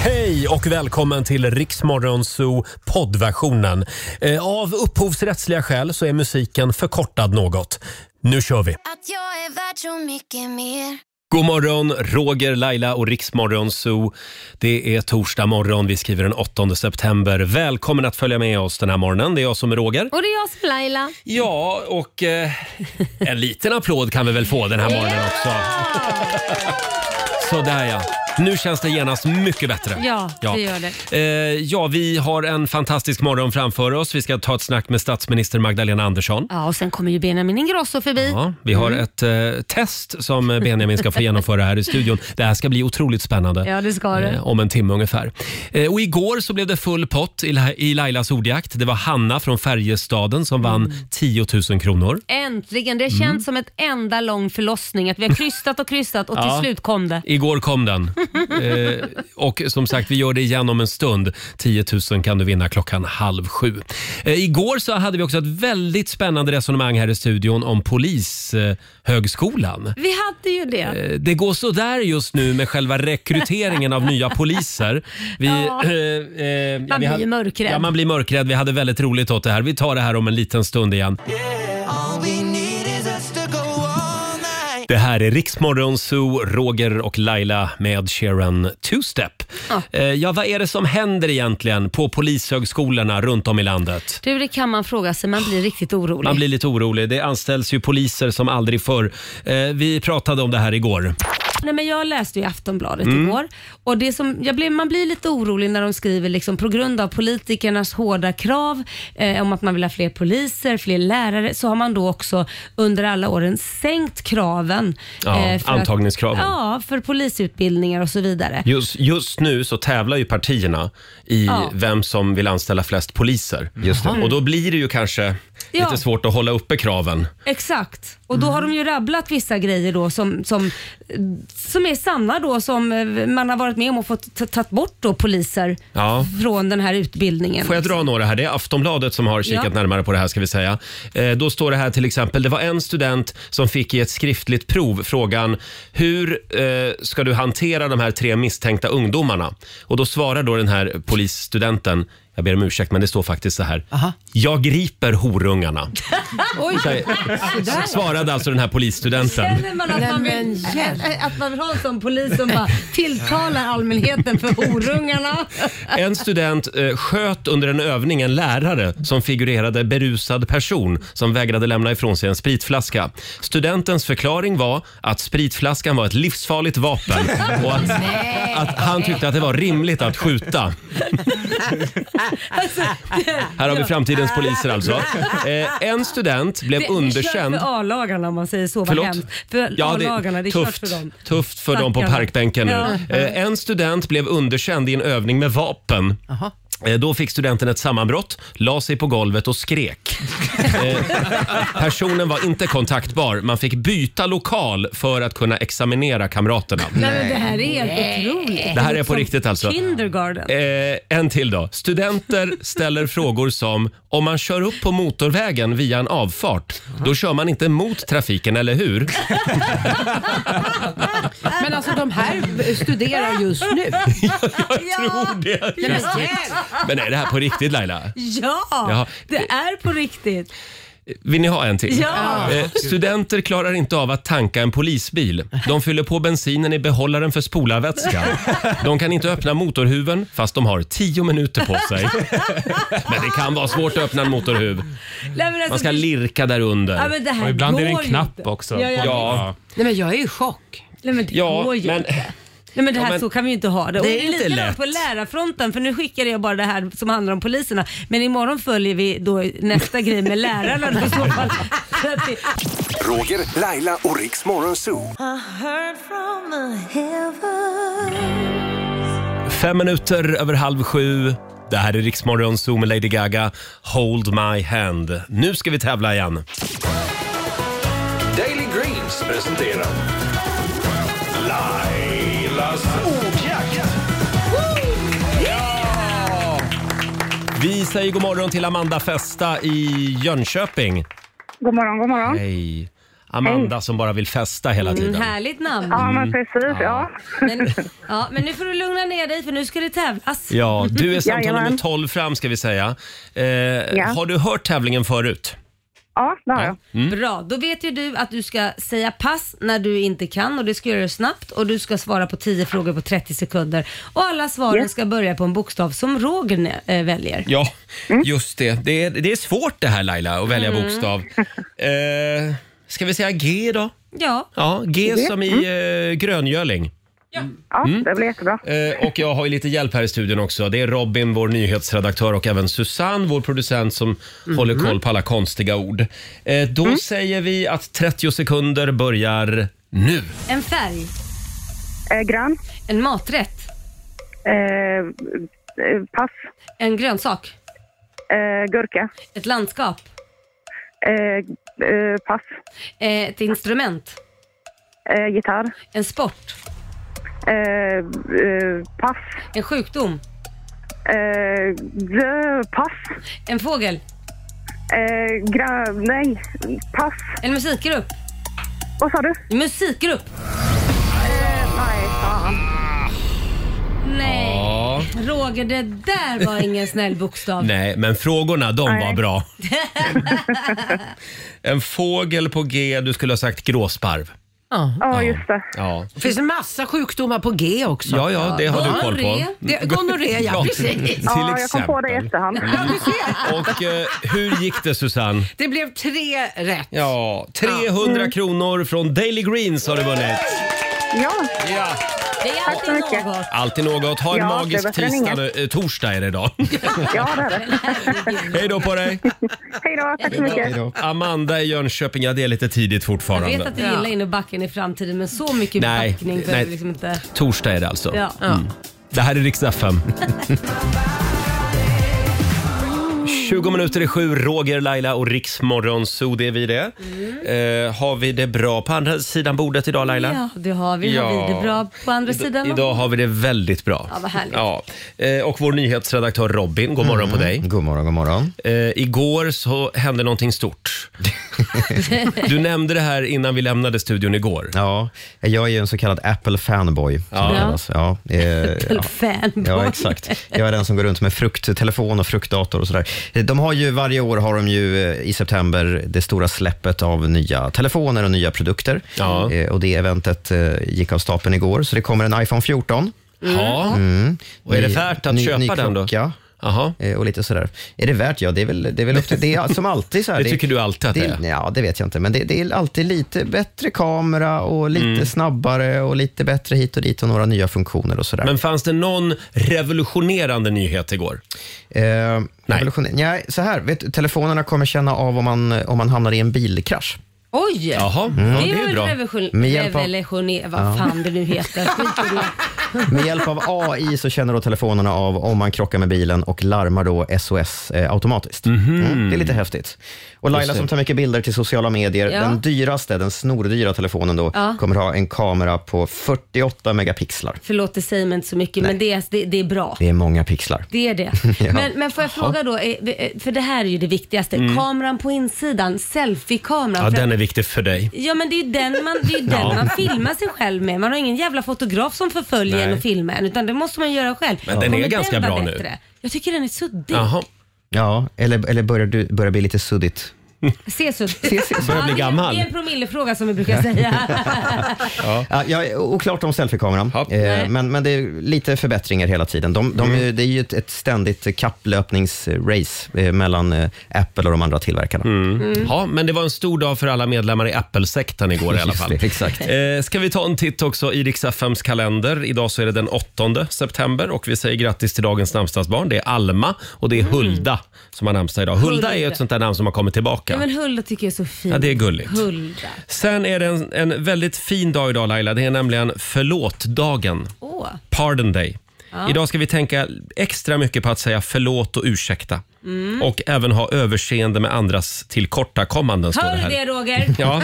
Hej och välkommen till Riksmorgonzoo poddversionen. Eh, Av upphovsrättsliga skäl så är musiken förkortad något. Nu kör vi! Att jag är värd så mycket mer God morgon, Roger, Laila och Riksmorgonzoo. Det är torsdag morgon, vi skriver den 8 september. Välkommen att följa med oss den här morgonen. Det är jag som är Roger. Och det är jag som är Laila. Ja, och eh, en liten applåd kan vi väl få den här morgonen också. Sådär ja. Nu känns det genast mycket bättre. Ja, det gör det. Eh, ja, vi har en fantastisk morgon framför oss. Vi ska ta ett snack med statsminister Magdalena Andersson. Ja, och sen kommer ju Benjamin Ingrosso förbi. Ja, vi har Mm. ett eh, test som Benjamin ska få genomföra här i studion. Det här ska bli otroligt spännande. Ja, det ska det. Eh, om en timme ungefär. Eh, och igår så blev det full pott i, La- i Lailas ordjakt. Det var Hanna från Färjestaden som vann Mm. 10 000 kronor. Äntligen! Mm. Det känns som ett enda lång förlossning. Att vi har krystat och krystat och Ja. till slut kom det. Igår kom den. Eh, och som sagt, vi gör det igen om en stund. 10 000 kan du vinna klockan halv sju. Eh, igår så hade vi också ett väldigt spännande resonemang här i studion om Polishögskolan. Vi hade ju det. Eh, Det går så där just nu med själva rekryteringen av nya poliser. Vi, Ja. eh, eh, Man blir hade- ju mörkrädd. Ja, man blir mörkrädd. Vi hade väldigt roligt åt det här. Vi tar det här om en liten stund igen. Det här är Riksmorgon Zoo, Roger och Laila med Sharon Two Step. Ja. Eh, ja, vad är det som händer egentligen på polishögskolorna runt om i landet? Du, det kan man fråga sig. Man blir riktigt orolig. Man blir lite orolig. Det anställs ju poliser som aldrig förr. Eh, vi pratade om det här igår. Nej, men jag läste ju Aftonbladet Mm. igår och det som, jag blev, man blir lite orolig när de skriver liksom, på grund av politikernas hårda krav eh, om att man vill ha fler poliser, fler lärare, så har man då också under alla åren sänkt kraven. eh, Ja, för att- antagningskraven. Ja, för polisutbildningar och så vidare. Just, just nu så tävlar ju partierna i Ja. vem som vill anställa flest poliser. Just Och då blir det ju kanske Ja. lite svårt att hålla uppe kraven. Exakt, och då har de ju rabblat vissa grejer då som, som, som är sanna då som eh, man har varit med om och fått ta- tagit bort då poliser Ja. från den här utbildningen. Får jag dra några här? Det är Aftonbladet som har kikat Ja. närmare på det här ska vi säga. Eh, då står det här till exempel, det var en student som fick i ett skriftligt prov frågan hur eh, ska du hantera de här tre misstänkta ungdomarna? Och då svarar då den här polisstudenten jag ber om ursäkt, men det står faktiskt så här. Jag griper horungarna. Oj, Svarade alltså den här polisstudenten. Känner man att man, vill, äh, att man vill ha en sån polis som bara tilltalar allmänheten för horungarna? En student eh, sköt under en övning en lärare som figurerade berusad person som vägrade lämna ifrån sig en spritflaska. Studentens förklaring var att spritflaskan var ett livsfarligt vapen och att, att han tyckte att det var rimligt att skjuta. Här har vi framtidens poliser alltså. Eh, En student blev Det är underkänd kört för A-lagarna om man säger så. Vad Förlåt? hemskt. För Ja, A-lagarna, det är tufft, kört för dem. tufft för dem på Stackarna. parkbänken nu. Ja. Eh, en student blev underkänd i en övning med vapen. Eh, Då fick studenten ett sammanbrott, la sig på golvet och skrek. Eh, Personen var inte kontaktbar. Man fick byta lokal för att kunna examinera kamraterna. Nej, men det här är helt otroligt. Det här är på riktigt alltså. Kindergarten. Eh, en till då. Studenter ställer frågor som om man kör upp på motorvägen via en avfart, då kör man inte mot trafiken, eller hur? Men alltså de här studerar just nu. Jag tror det. Ja, men hjälp. Men är det här på riktigt Laila? ja, Jaha. det är på riktigt. Vill ni ha en till? Ja. Eh, studenter klarar inte av att tanka en polisbil. De fyller på bensinen i behållaren för spolarvätska. De kan inte öppna motorhuven fast de har tio minuter på sig. Men det kan vara svårt att öppna en motorhuv. Nej, men alltså, Man ska det- lirka där ja, under. men det här Och ibland går är det en ju knapp inte. också. Ja, ja. Ja, Nej men jag är i chock. Nej, men det ja går ju men inte. Nej men det här Ja, men- så kan vi ju inte ha det. Och Det är inte likadant lätt. på lärarfronten för nu skickade jag bara det här som handlar om poliserna. Men imorgon följer vi då nästa grej med lärarna då i så fall. Så att det- Roger, Laila och Riks Morgonzoo. fem minuter över halv sju. Det här är Riksmorgon Zoom med Lady Gaga. Hold my hand. Nu ska vi tävla igen. Daily Greens presenterar Lailas ordjakt. Vi säger god morgon till Amanda Festa i Jönköping. God morgon, god morgon. Hej. Amanda som bara vill festa hela Mm, tiden. härligt namn. Ja, men precis. Mm. Ja. Men, ja, men nu får du lugna ner dig för nu ska det tävlas. Ja, du är samtal nummer Jajamän. 12 fram ska vi säga. Eh, Har du hört tävlingen förut? ja, det har jag. Mm. Bra, då vet ju du att du ska säga pass när du inte kan och det ska göra snabbt och du ska svara på 10 frågor på 30 sekunder. Och alla svaren Ja. ska börja på en bokstav som Roger ne- eh, väljer. Ja, just det. Det är, det är svårt det här Laila, att välja bokstav. Eh, ska vi säga G då? Ja, Ja, G som i eh, gröngöling. Ja, det blir jättebra. Eh, och jag har ju lite hjälp här i studion också. Det är Robin, vår nyhetsredaktör och även Susanne, vår producent som håller koll på alla konstiga ord. Eh, då säger vi att 30 sekunder börjar nu. en färg, Eh, grön. en maträtt, Eh, eh, pass. en grönsak, Eh, gurka. ett landskap, Eh, eh, pass. eh, ett instrument, Eh, gitarr. en sport, Eh, eh, pass. en sjukdom, Eh, dö, pass. en fågel, Eh, gra- nej, pass. en musikgrupp, Vad sa du? en musikgrupp. Nej, fan. Nej, Ja. Roger det där var ingen snäll bokstav. Nej, men frågorna de var Nej. bra. en fågel på G, du skulle ha sagt gråsparv. Ja. Ja, just det. Ja, Det finns en massa sjukdomar på G också. ja, ja det har du koll Gonorré. på. Det, gonorré, ja. Precis. Ja, Till jag kom på det i exempel. efterhand. Och eh, hur gick det Susanne? Det blev tre rätt. Ja, 300 kronor från Daily Greens har du vunnit. Mm. Ja, Ja. Det är så alltid mycket. något. Alltid något. Ha en Ja, det magisk var för den tisdag ingen. nu. Eh, Torsdag är det idag. ja det är det. Hej då på dig. Hej då, tack så mycket. Amanda i Jönköping, ja det är lite tidigt Jag fortfarande. vet att du gillar in och backen i framtiden men så mycket Nej, backning nej. behöver vi liksom inte. Torsdag är det alltså. Ja. Det här är Rix FM. 20 minuter i sju, Roger, Laila och Riksmorgon, så det är vi det. Eh, har vi det bra på andra sidan bordet idag Laila? Mm. ja, det har vi. Ja. Har vi det bra på andra sidan? Idag har vi det väldigt bra. Ja, vad härligt. Ja. Eh, Och vår nyhetsredaktör Robin, god morgon på dig. God morgon, god morgon. Eh, igår så hände någonting stort. du nämnde det här innan vi lämnade studion igår. Ja, jag är ju en så kallad Apple-fanboy. som Ja. det kallas. Ja, eh, Till ja. fanboy. Ja, exakt. Jag är den som går runt med frukttelefon och fruktdator och sådär. De har ju, varje år har de ju eh, i september det stora släppet av nya telefoner och nya produkter. Ja. Eh, Och det eventet eh, gick av stapeln igår, så det kommer en iPhone 14. Mm. Ja. Och är det värt att ny, köpa ny den då? klocka, Jaha. eh, Och lite sådär. Är det värt? Ja, det är väl, det är väl upp till, det är som alltid. Så här, Det tycker du alltid att det är? Ja, det vet jag inte. Men det, det är alltid lite bättre kamera och lite Mm. snabbare och lite bättre hit och dit och några nya funktioner och sådär. Men fanns det någon revolutionerande nyhet igår? Eh, Nej. revolutionär. Nej, så här. Vet, du, telefonerna kommer känna av om man, om man hamnar i en bilkrasch. Oj! Mm. Jaha, ja, Det det är är ju väl bra. revolution- Med hjälp av- revolutionerande, vad fan det nu heter. Skit i det. Med hjälp av AI så känner då telefonerna av om man krockar med bilen och larmar då SOS eh, automatiskt. Mm, det är lite häftigt. Och Laila som tar mycket bilder till sociala medier, Ja. den dyraste, den snordyra telefonen då, Ja. kommer ha en kamera på 48 megapixlar. Förlåt, det säger mig inte så mycket men det är, det, det är bra. Det är många pixlar. Det är det. Ja. men, men får jag fråga då, är- är- för det här är ju det viktigaste. Kameran på insidan, selfie-kameran. Mm. Ja, För den är viktig för dig. Ja men det är ju den man, det är ju den man filmar sig själv med. Man har ingen jävla fotograf som förföljer Nej. en och filmar en utan det måste man göra själv. Men den är Kommer ganska vara bra nu. bättre? Jag tycker den är suddig. Jaha, Ja, eller, eller börjar du börjar bli lite suddigt? Se suddig. börjar bli Ja, det är- gammal. Det är en promillefråga som vi brukar säga. Ja, jag är oklart om selfiekameran, Ja. eh, men, men det är lite förbättringar hela tiden. De, de, Det är ju ett, ett ständigt kapplöpningsrace eh, mellan eh, Apple och de andra tillverkarna. ja, men det var en stor dag för alla medlemmar i Apple-sekten igår i alla Just fall. det, exakt. Eh, ska vi ta en titt också i Rix FMs kalender. Idag så är det den 8 september och vi säger grattis till dagens namnsdagsbarn. Det är Alma och det är Hulda som har namnsdag idag. Hulda är ju ett sånt där namn som har kommit Ja, tillbaka. men Hulda tycker jag är så fin. Ja, det är gulligt. Hulda. Sen är det en, en väldigt fin dag idag Laila. Det är nämligen förlåtdagen. Åh. Pardon Day. Idag ska vi tänka extra mycket på att säga förlåt och ursäkta. Mm. och även ha överseende med andras tillkortakommanden. Står det Hör här. du det Roger? Ja,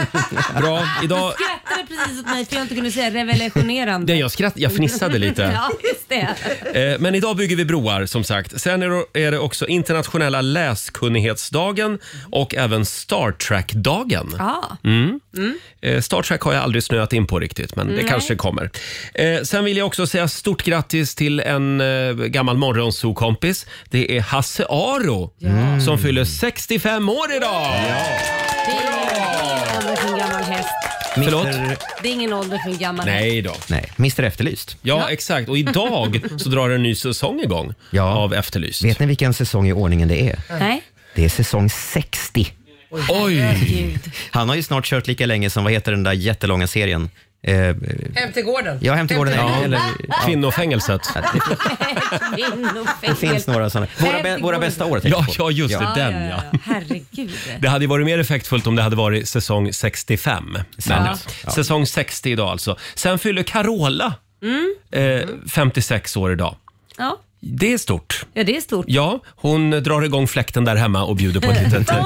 bra. Idag... Skrattade precis åt mig för jag inte kunde säga revolutionerande. Nej, jag, skratt, jag fnissade lite. Ja, just det. Eh, Men idag bygger vi broar som sagt. Sen är det- är det också internationella läskunnighetsdagen och även Star Trek-dagen. Ah. Ja. Mm. Eh, Star Trek har jag aldrig snöat in på riktigt, men det kanske kommer. Eh, sen vill jag också säga stort grattis till en eh, gammal morgonsokompis. Det är Hasse Aro Mm. som fyller 65 år idag! Det är ingen ålder för en gammal häst. Förlåt? Mr... Det är ingen ålder för en gammal häst. Nej då. Nej, Mr Efterlyst. Ja, exakt. Och idag så drar en ny säsong igång Ja. av Efterlyst. Vet ni vilken säsong i ordningen det är? Nej. Det är säsong 60. Oj! Gud. Han har ju snart kört lika länge som, vad heter den där jättelånga serien? Eh, Hem till gården. ja, Hem till gården. Ja, eller, Kvinnofängelset. det finns några sådana. Våra, bä, våra bästa år tänkte Ja, jag på. ja just det. Ja, den ja, ja. ja. Herregud. Det hade ju varit mer effektfullt om det hade varit säsong 65. Men, Ja. Säsong 60 idag alltså. Sen fyller Carola Mm. eh, 56 år idag. Ja. Det är stort. ja, det är stort. Ja, hon drar igång fläkten där hemma och bjuder på ett litet, Fångad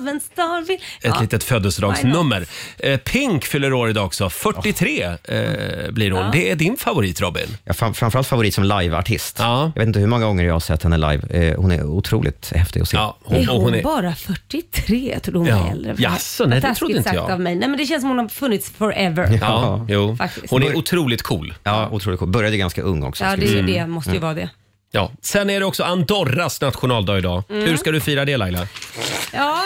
av en stormvind. ett Ja. litet födelsedagsnummer. Eh, Pink fyller år idag också. 43 eh, blir hon. Det är din favorit Robin. Ja, fram, framförallt favorit som liveartist. Ja. Jag vet inte hur många gånger jag har sett henne live. Eh, hon är otroligt häftig att se. Ja, Är och hon, bara 43? Jag trodde hon Ja. var äldre. Jaså, nej, det Taskigt trodde inte sagt jag. av mig. Nej, men det känns som hon har funnits forever. Ja, Ja, jo. Faktiskt. Hon är otroligt cool. Ja, otroligt cool. Började ganska ung också. ska det vi är säga. ju Mm. det. Måste ju vara det. Ja. Mm. Sen är det också Andorras nationaldag idag. Hur ska du fira det Laila? Ja,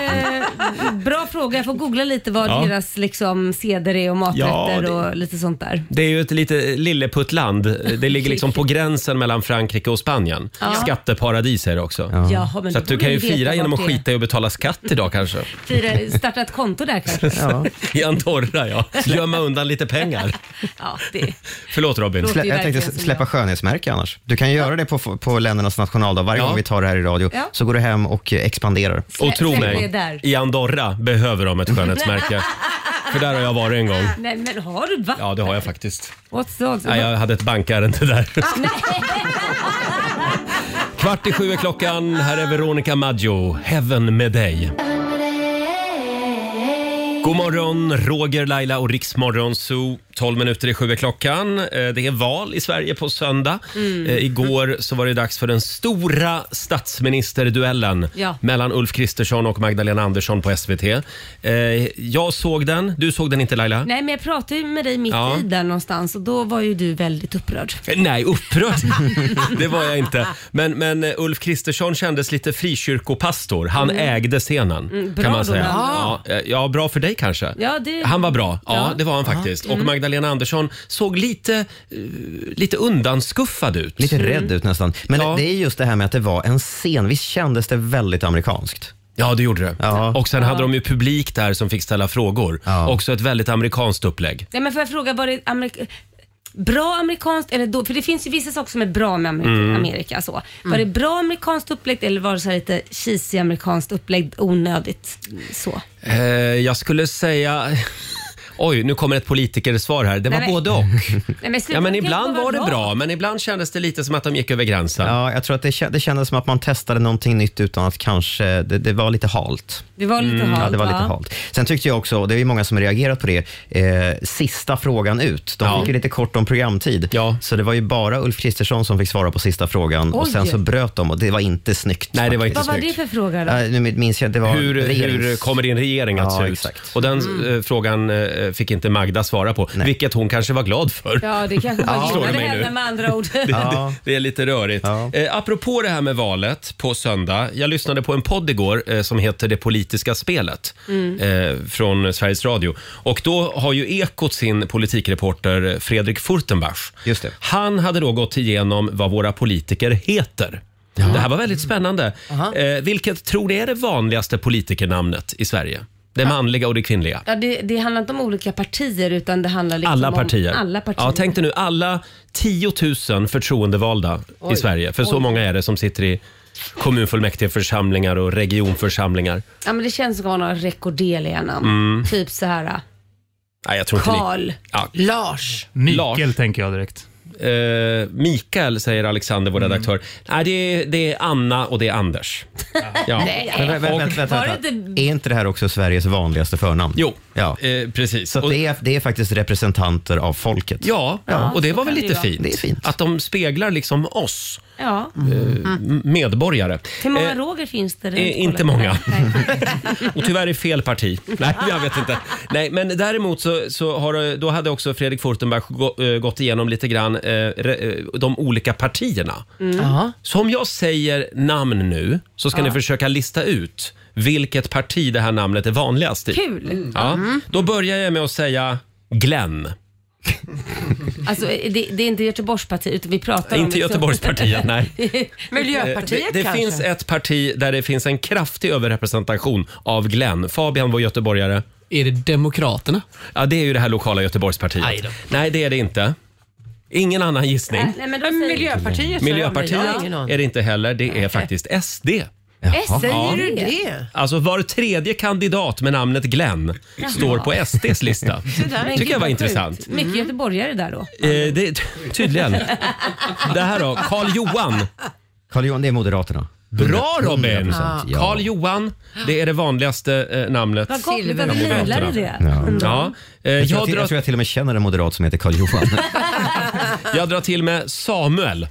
eh, bra fråga. Jag får googla lite vad Ja. deras liksom, seder är och maträtter Ja, det- och lite sånt där. Det är ju ett lite lilleputtland. Det ligger liksom på gränsen mellan Frankrike och Spanien. Skatteparadis är det också. Jaha, men Så då att du borde kan ju vi veta fira genom vart att det är. skita i att betala skatt idag kanske. Fira, starta ett konto där kanske. Ja. I Andorra ja. Gömma undan lite pengar. Ja, det, Förlåt Robin. Förlåt. Slä, Det är jag tänkte verkligen som släppa jag. skönhetsmärke annars. Du kan göra det på, på ländernas nationaldag. Varje Ja. gång vi tar det här i radio Ja. så går du hem och eh, expanderar. Och tro Släpp det mig, där. i Andorra behöver de ett skönhetsmärke. För där har jag varit en gång. nej men har du va? Ja, det har jag faktiskt. What's the odds? Nej, jag hade ett bankärende där. Ah, Kvart i sju är klockan. Här är Veronica Maggio, Heaven med dig. God morgon, Roger, Laila och Riksmorgon Zoo. 12 minuter i sju är klockan. Eh, Det är val i Sverige på söndag. Mm. Eh, Igår så var det dags för den stora statsministerduellen Ja. mellan Ulf Kristersson och Magdalena Andersson på SVT. Eh, Jag såg den. Du såg den inte Laila? Nej men jag pratade ju med dig mitt Ja. i där någonstans och då var ju du väldigt upprörd. Nej, upprörd. Det var jag inte. Men, men eh, Ulf Kristersson kändes lite frikyrkopastor. Han ägde scenen. Mm. bra kan man då, säga. men- Ja, eh, ja, bra för dig kanske. Ja, det- Han var bra. Ja, Ja. Mm. det var han faktiskt. Och Magdalena Andersson såg lite, eh, lite undanskuffad ut. Lite rädd ut nästan. Men Ja. det är just det här med att det var en scen. Visst kändes det väldigt amerikanskt? Ja, det gjorde det. Ja. Och sen hade de ju publik där som fick ställa frågor. Ja. Också ett väldigt amerikanskt upplägg. Nej men får jag fråga, var det amerik- bra amerikanskt eller då, för det finns ju vissa saker som är bra med Mm. Amerika. Amerika så. Var det bra amerikanskt upplägg eller var det så här lite cheesy amerikanskt upplägg onödigt så? Eh, jag skulle säga... Oj, nu kommer ett politikersvar här. Det var Nej, men- både och. Nej, men sluta, Ja, men det kan ibland inte var vara det bra, men ibland kändes det lite som att de gick över gränsen. Ja, jag tror att det, kä- det kändes som att man testade någonting nytt utan att kanske... Det, det var lite halt. Det var Mm. lite halt Ja, det var lite va? halt. Sen tyckte jag också, och det är ju många som har reagerat på det, eh, sista frågan ut. De Ja. fick ju lite kort om programtid. Ja. Så det var ju bara Ulf Kristersson som fick svara på sista frågan och Oj. sen så bröt de och det var inte snyggt. Nej, det var inte Vad var det snyggt. för fråga då? Eh, nu minns jag, det var Hur, regerings- hur kommer din regering att Ja, se ut? exakt. Och den eh, frågan eh, fick inte Magda svara på, vilket hon kanske var glad för. Ja, det kanske var Slår det gynnade mig nu? henne med andra ord. Det, det, det är lite rörigt. Ja. Eh, apropå det här med valet på söndag. Jag lyssnade på en podd igår eh, som heter Det politiska spelet eh, från Sveriges Radio. Och då har ju Ekot sin politikreporter Fredrik Furtenbach. Just det. Han hade då gått igenom vad våra politiker heter. Det här var väldigt spännande. Eh, vilket tror ni är det vanligaste politikernamnet i Sverige? Det manliga och det kvinnliga. Ja, det, det handlar inte om olika partier utan det handlar liksom Alla partier. om alla partier. Ja, tänk dig nu alla 10 000 förtroendevalda i Sverige. För så många är det som sitter i kommunfullmäktigeförsamlingar och regionförsamlingar. Ja, men det känns som att man har rekorddeliga namn. Mm. Typ så här Nej, jag tror inte ni... Karl. Ja, Lars. Lars. Mikael tänker jag direkt. Eh, Mikael, säger Alexander, Mm. vår redaktör. Nej, det är, det är Anna och det är Anders. Ja. Men, vä- vä- Och- vänta, vänta, Var det vänta. inte- Är inte det här också Sveriges vanligaste förnamn? Jo, Ja. eh, precis. Så att Och- det, är, det är faktiskt representanter av folket. Ja, och det var väl kan lite det ju vara. fint. Det är fint. Att de speglar liksom oss Ja. m- medborgare. Hur många Mm. Eh, Roger finns det? eh, inte många. Och tyvärr i fel parti. Nej, jag vet inte. Nej, men däremot så, så har, det- då hade också Fredrik Furtenberg gå- eh, gått igenom lite grann eh, re- eh, de olika partierna. Så om jag säger namn nu så ska ni försöka lista ut vilket parti det här namnet är vanligast i. Kul! Ja, då börjar jag med att säga Glenn. Alltså, det, det är inte Göteborgsparti utan vi pratar om... liksom- Inte Göteborgspartiet, nej. Miljöpartiet det, det kanske? finns ett parti där det finns en kraftig överrepresentation av Glenn. Fabian var göteborgare. Är det Demokraterna? Ja, det är ju det här lokala Aj Göteborgspartiet. då. Nej, det är det inte. Ingen annan gissning. Äh, Nej, men då Men säger Miljöpartiet sa Äh, jag, men Miljöpartiet jag har ingen aning. är det inte heller. Det är faktiskt SD. Säger Ja. du det? Alltså var tredje kandidat med namnet Glenn står på SDs lista. Men tycker gud, jag var vad intressant. sjukt. Mycket göteborgare där då. Eh, det, ty- tydligen. Det här då, Karl Johan. Carl Johan, det är Moderaterna. Bra Robin! 100%, ja. Karl Johan, det är det vanligaste eh, namnet. Vad gott, vi behöver Silver- vila i det. Ja. Eh, Jag, tror jag, att- jag tror drar, jag till och med känner en moderat som heter Carl Johan. jag drar till med Samuel.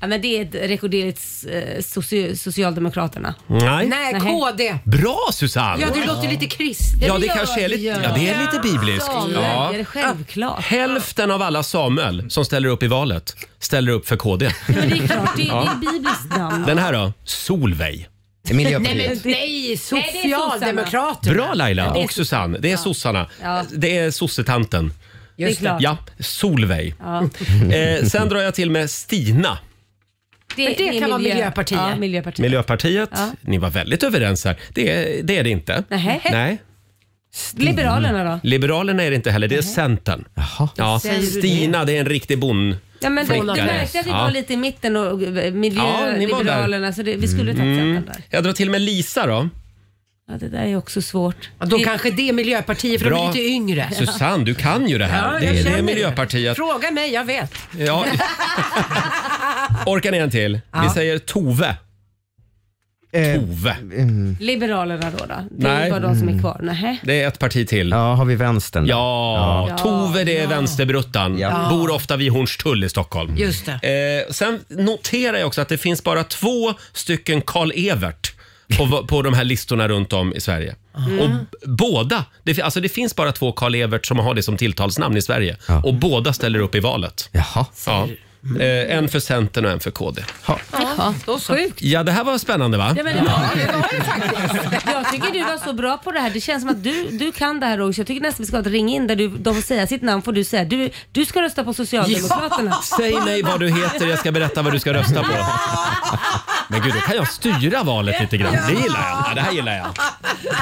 Ja, men det är ett rekorderligt eh, soci- Socialdemokraterna. Nej. Nej, Nej. KD. Bra Susanne! Ja, du låter lite kristet. Ja, men det gör kanske är lite, jag. ja, det är lite bibliskt. Ja. Ja. Det är självklart. Hälften av alla Samuel som ställer upp i valet ställer upp för KD. Men det är klart, det, det är ett bibliskt namn. Den här då? Solveig. Miljöpartiet. Nej, Nej, det är sossarna. socialdemokrater. Bra Laila och Susanne. Det är sossarna. Ja. Det är sossetanten. det är klart. Ja, Solveig. Eh, sen drar jag till med Stina. Men det är kan vara Miljöpartiet. Ja, Miljöpartiet. Miljöpartiet. Ni var väldigt överens här. Det, är- det är det inte. Nähä. Nej. Liberalerna då? Liberalerna är det inte heller, det är Centern. Ja. Säger du det? Stina, det är en riktig bonn... Ja, men du, du Flickare. märkte att vi Ja. var lite i mitten och eh, Ja, ni var Mm. miljöliberalerna, så det, vi skulle tagit Centern där. Jag drar till med Lisa då. Ja, det där är också svårt. Ja, Då Vi- kanske det är Miljöpartiet för de Bra. är lite yngre. Susanne, du kan ju det här. Ja, det, jag är- det känner är det. Miljöpartiet. Fråga mig, jag vet. Ja. Orkar ni en till? Vi säger Tove. Eh, Tove. Liberalerna då? då. Det Nej. Mm. är bara de som är kvar. Nähä. Det är ett parti till. Ja. ja, har vi vänstern? där? Ja, Tove det är vänsterbruttan. Ja. Bor ofta vid Hornstull i Stockholm. Just det. Eh, sen noterar jag också att det finns bara två stycken Karl Evert på, på de här listorna runt om i Sverige. Och b- båda, det, fi- alltså det finns bara två Karl Evert som har det som tilltalsnamn i Sverige. Och båda ställer upp i valet. Jaha. Ja. Eh, en för Centern och en för KD. Så sjukt. Ja, det här var spännande va? Ja, men det var, det var ju faktiskt. Jag tycker du var så bra på det här. Det känns som att du, du kan det här Roger. så Jag tycker nästan vi ska ha ett ring in där du, de får säga sitt namn får du säga. Du, du ska rösta på Socialdemokraterna. Säg mig vad du heter, jag ska berätta vad du ska rösta på. Men gud, då kan jag styra valet lite grann. Det gillar jag. Ja, det här gillar jag.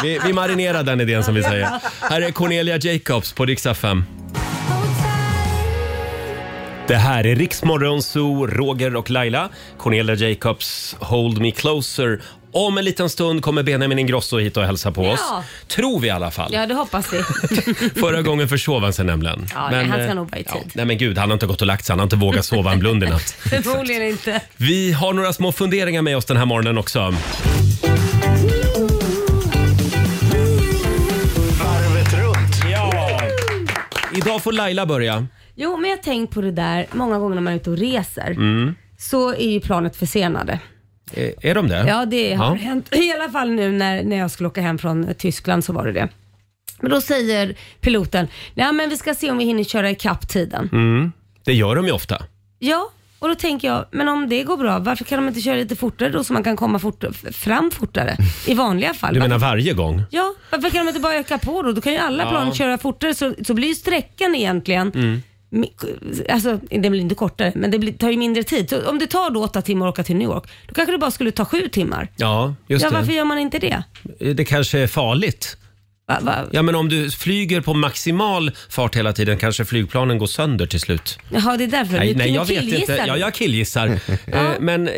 Vi, vi marinerar den idén som vi säger. Här är Cornelia Jacobs på Rix FM. Det här är Riksmorgon Zoo, Roger och Laila. Cornelia Jacobs, Hold Me Closer. Om en liten stund kommer Benjamin Ingrosso hit och hälsa på oss. Ja. Tror vi i alla fall. Ja, det hoppas vi. Förra gången försov han sig nämligen. Ja, nej, han ska eh, nog vara i tid. nej men gud, han har inte gått och lagt sig. Han har inte vågat sova en blund i natt. Förmodligen inte. Vi har några små funderingar med oss den här morgonen också. Varvet runt. Ja. Idag får Laila börja. Jo, men jag har tänkt på det där många gånger när man är ute och reser. Så är ju planet försenade. Eh, Är de det? Ja, det har Ja. hänt. I alla fall nu när, när jag skulle åka hem från Tyskland så var det det. Men då säger piloten, nej men vi ska se om vi hinner köra ikapp tiden. Det gör de ju ofta. Ja, och då tänker jag, men om det går bra, varför kan de inte köra lite fortare då så man kan komma fort, fram fortare? I vanliga fall. Du va? menar varje gång? Ja, varför kan de inte bara öka på då? Då kan ju alla plan köra fortare så, så blir ju sträckan egentligen Mm. mi- Alltså, den blir inte kortare, men det blir, tar ju mindre tid. Så om det tar då åtta timmar att åka till New York, då kanske det bara skulle ta sju timmar. Ja, just Ja, varför det. gör man inte det? Eh, Det kanske är farligt Va, va? Ja, men om du flyger på maximal fart hela tiden kanske flygplanen går sönder till slut. Jaha, det är därför. Nej, Du nej kan jag vet killgissa inte. nu. Ja, jag killgissar. Eh, Men eh,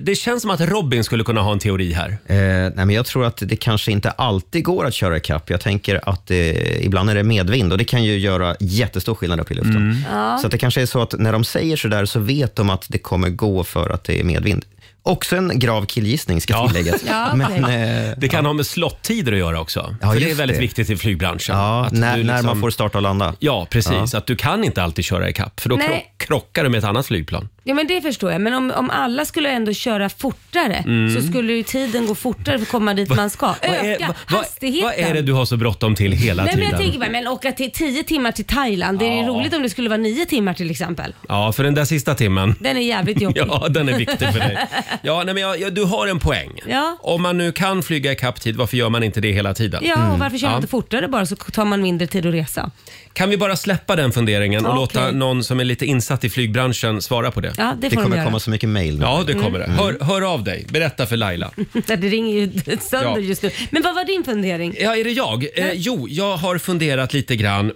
det känns som att Robin skulle kunna ha en teori här. Eh, nej, men jag tror att det kanske inte alltid går att köra ikapp. Jag tänker att eh, ibland är det medvind och det kan ju göra jättestor skillnad upp i luften. Mm. Så att det kanske är så att när de säger sådär så vet de att det kommer gå för att det är medvind. Också en grav killgissning ska Ja. tilläggas. Ja, men, okej. eh, Det kan ha med slottider att göra också. Ja, för det är just väldigt det. viktigt i flygbranschen. ja, Att när, du när man liksom- får starta och landa. Ja, precis. Att du kan inte alltid köra i kapp för då Nej. krock, krockar du med ett annat flygplan. Ja men det förstår jag, men om, om alla skulle ändå köra fortare så skulle ju tiden gå fortare för att komma dit man ska. Mm. Vad är- Öka vad- vad- hastigheten. Vad är det du har så bråttom till hela Nej, men tiden? jag tänker bara, men åka till 10 timmar till Thailand, det är ju roligt om det skulle vara 9 timmar till exempel. Ja, för den där sista timmen. Den är jävligt jobbig. Ja, den är viktig för dig. Ja, nej, men jag, jag, du har en poäng. Ja. Om man nu kan flyga i kapptid, varför gör man inte det hela tiden? Ja, och varför kör Mm. man Ja. inte fortare bara så tar man mindre tid att resa? Kan vi bara släppa den funderingen och Okej. låta någon som är lite insatt i flygbranschen svara på det? Ja, det Det får de kommer göra. komma så mycket mejl nu. Ja, Mm. det kommer det. Hör, hör av dig. Berätta för Laila. Det ringer ju sönder Ja. just nu. Men vad var din fundering? Ja, är det jag? Eh, jo, jag har funderat lite grann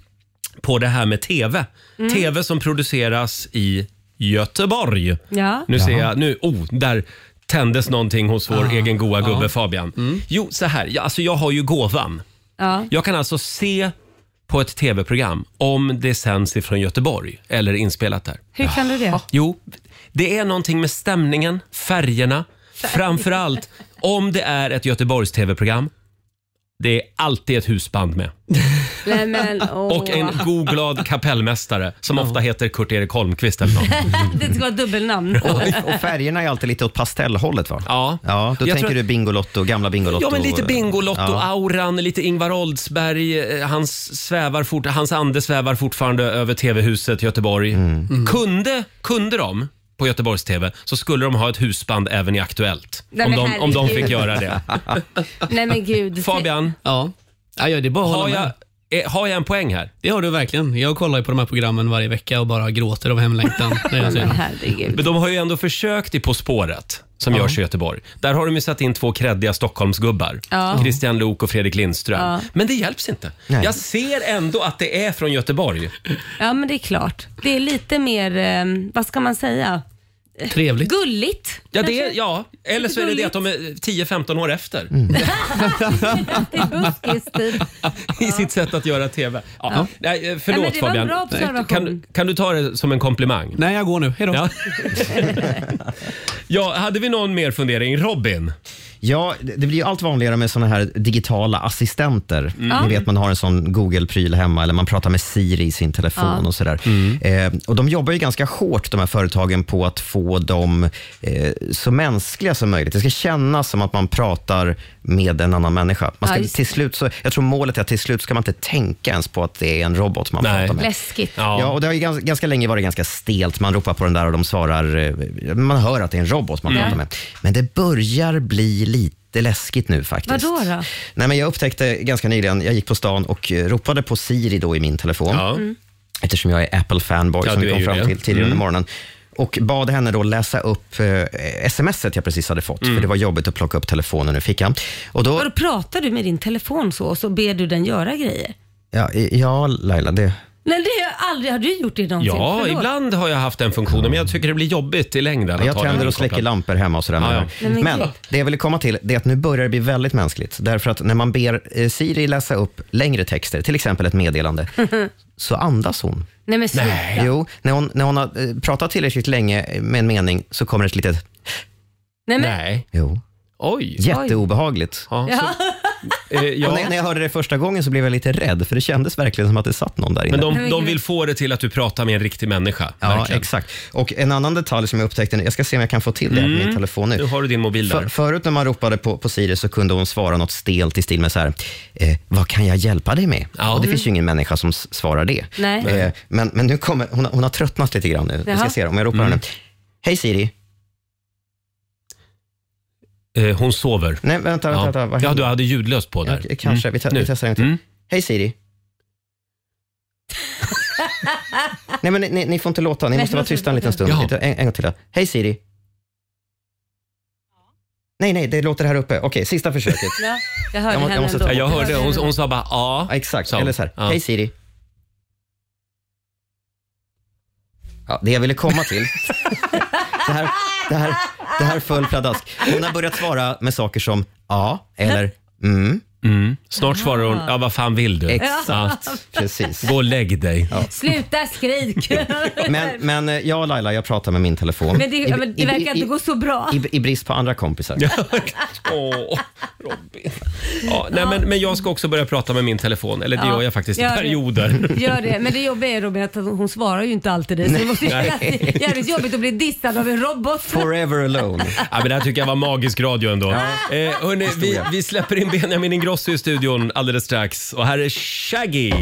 på det här med TV. Mm. TV som produceras i Göteborg. Ja. Nu ser jag, nu, oh, där tändes någonting hos Ah. vår egen goa gubbe Fabian. Mm. Jo, så här, jag, alltså jag har ju gåvan. Ja. Jag kan alltså se på ett TV-program om det sänds ifrån Göteborg eller inspelat där. Hur kan du det? Jo, det är någonting med stämningen, färgerna, framförallt om det är ett Göteborgs-TV-program. Det är alltid ett husband med Nej, men, åh. och en god glad kapellmästare som ofta heter Kurt-Erik Holmqvist eller något. Det ska vara dubbelnamn. Och, och färgerna är alltid lite åt pastellhållet va? Ja. ja då Jag tänker tror- du Bingolotto, gamla Bingolotto. Ja, men lite Ja. Bingolotto-auran, lite Ingvar Oldsberg. eh, Hans, svävar fort, hans ande svävar fortfarande över TV-huset Göteborg. Kunde, kunde de på Göteborgs-TV så skulle de ha ett husband även i Aktuellt. Nej, om, men de, om de herregud. fick göra det. Nej men gud. Fabian, Ja. Ja, ja, det är bara att har hålla jag, med. eh, har jag en poäng här? Det har du verkligen. Jag kollar ju på de här programmen varje vecka och bara gråter av hemlängtan när jag ser Men dem. herregud. Men de har ju ändå försökt i På spåret som görs i Göteborg. Där har de ju satt in två kreddiga Stockholmsgubbar. Ja. Christian Lok och Fredrik Lindström. Ja. Men det hjälps inte. Jag ser ändå att det är från Göteborg. Ja men det är klart. Det är lite mer, eh, vad ska man säga? Trevligt. Gulligt. Ja, det kanske? är, ja. eller så är det det att de är 10-15 år efter Det är buskistid. i sitt sätt att göra TV. Ja. Nej, eh, Nej, förlåt men det var en Fabian. bra observation. kan, kan du ta det som en komplimang? Nej, jag går nu. Hej då. Ja. ja, hade vi någon mer fundering? Robin? Ja, det det blir ju allt vanligare med såna här digitala assistenter. Mm. Ni vet man har en sån Google-pryl hemma eller man pratar med Siri i sin telefon och sådär. Mm. Eh, och de jobbar ju ganska hårt de här företagen på att få dem eh, så mänskliga som möjligt. Det ska kännas som att man pratar med en annan människa. Man ska, Ja, just det. till slut så, jag tror målet är att till slut ska man inte tänka ens på att det är en robot man Nej. pratar med. Läskigt. Ja. och det har ju ganska, ganska länge varit ganska stelt. Man ropar på den där och de svarar... eh, Man hör att det är en robot Mm. man pratar med. Men det börjar bli lite läskigt nu faktiskt. Vadå då? Nej, men jag upptäckte ganska nyligen, jag gick på stan och eh, ropade på Siri då i min telefon. Ja. Eftersom jag är Apple-fanboy Ja, som du vi är kom ju fram det. Mm. till tidigare under morgonen. Och bad henne då läsa upp eh, smset jag precis hade fått, Mm. för det var jobbigt att plocka upp telefonen ur fickan. Och då, Och då pratar du med din telefon så och så ber du den göra grejer? ja, i- ja, Laila, det... Nej det har jag aldrig, har du gjort det någonsin? Ja, Förlåt. ibland har jag haft den funktionen, men jag tycker det blir jobbigt i längden. att Jag ha den tänder och släcker inkopplad. lampor hemma och sådär. Ja, ja. Nej, men Men gud. det jag ville komma till det är att nu börjar det bli väldigt mänskligt. Därför att när man ber eh, Siri läsa upp längre texter, till exempel ett meddelande, så andas hon. Nej men sluta. Jo, när hon, när hon har eh, pratat tillräckligt länge med en mening så kommer ett litet Nej, men, Nej. Jo, Oj. jätteobehagligt. Ja, så, eh, Och ja. när, när jag hörde det första gången så blev jag lite rädd, för det kändes verkligen som att det satt någon där inne. Men de, Men de gud. vill få det till att du pratar med en riktig människa. ja, verkligen. exakt. Och en annan detalj som jag upptäckte, jag ska se om jag kan få till det här Mm. på min telefon Nu har du din mobil För, där. förut när man ropade på, på Siri så kunde hon svara något stelt i stil med så här, eh, vad kan jag hjälpa dig med? Ja. Och det finns ju ingen människa som s- svarar det. Nej. Eh, men, men nu kommer, hon, har- hon har tröttnat lite grann nu. Vi ska Jaha. se om jag ropar Mm. henne. Hej Siri. Eh, hon sover. Nej, vänta, vänta. vänta Ja. vad ja, händer? du hade ljudlöst på där. Mm. Ja, kanske. Vi, te- Nu. vi testar en till. Mm. Hej Siri. Nej, men ni- ni, ni får inte låta. Ni Nej, måste vara måste- tysta en liten stund. Jaha. Lite- En, en gång till. då. Hej Siri. Nej, nej, det låter här uppe. Okej, sista försöket. Ja, jag hörde Jag må- jag henne måste ändå. ta- Ja, jag hörde, hon, hon sa bara ja. Ja, exakt, sa hon. eller så här. Ja. Hej Siri. Ja, det jag ville komma till. det, här, det, här, det här föll pladask. Hon har börjat svara med saker som ja eller mm. Mm. Snart svarar hon, Ah. ja vad fan vill du? Exakt, precis. Gå och lägg dig. Sluta skrik! Men, men eh, jag och Laila, jag pratar med min telefon. Men det, I- ja, men det i- verkar i- inte gå så bra. I, I brist på andra kompisar. Åh, Robin. Ja, nej, men, men jag ska också börja prata med min telefon, eller det Ja, gör jag faktiskt i gör det. perioder. Gör det. Men det jobbiga är Robin att hon svarar ju inte alltid dig. Så det måste ju kännas jävligt jobbigt att bli dissad av en robot. Forever alone. Ja, men det här tycker jag var magisk radio ändå. Eh, hörni, vi, vi släpper in Benjamin Ingrosso i studion alldeles strax. Och här är Shaggy.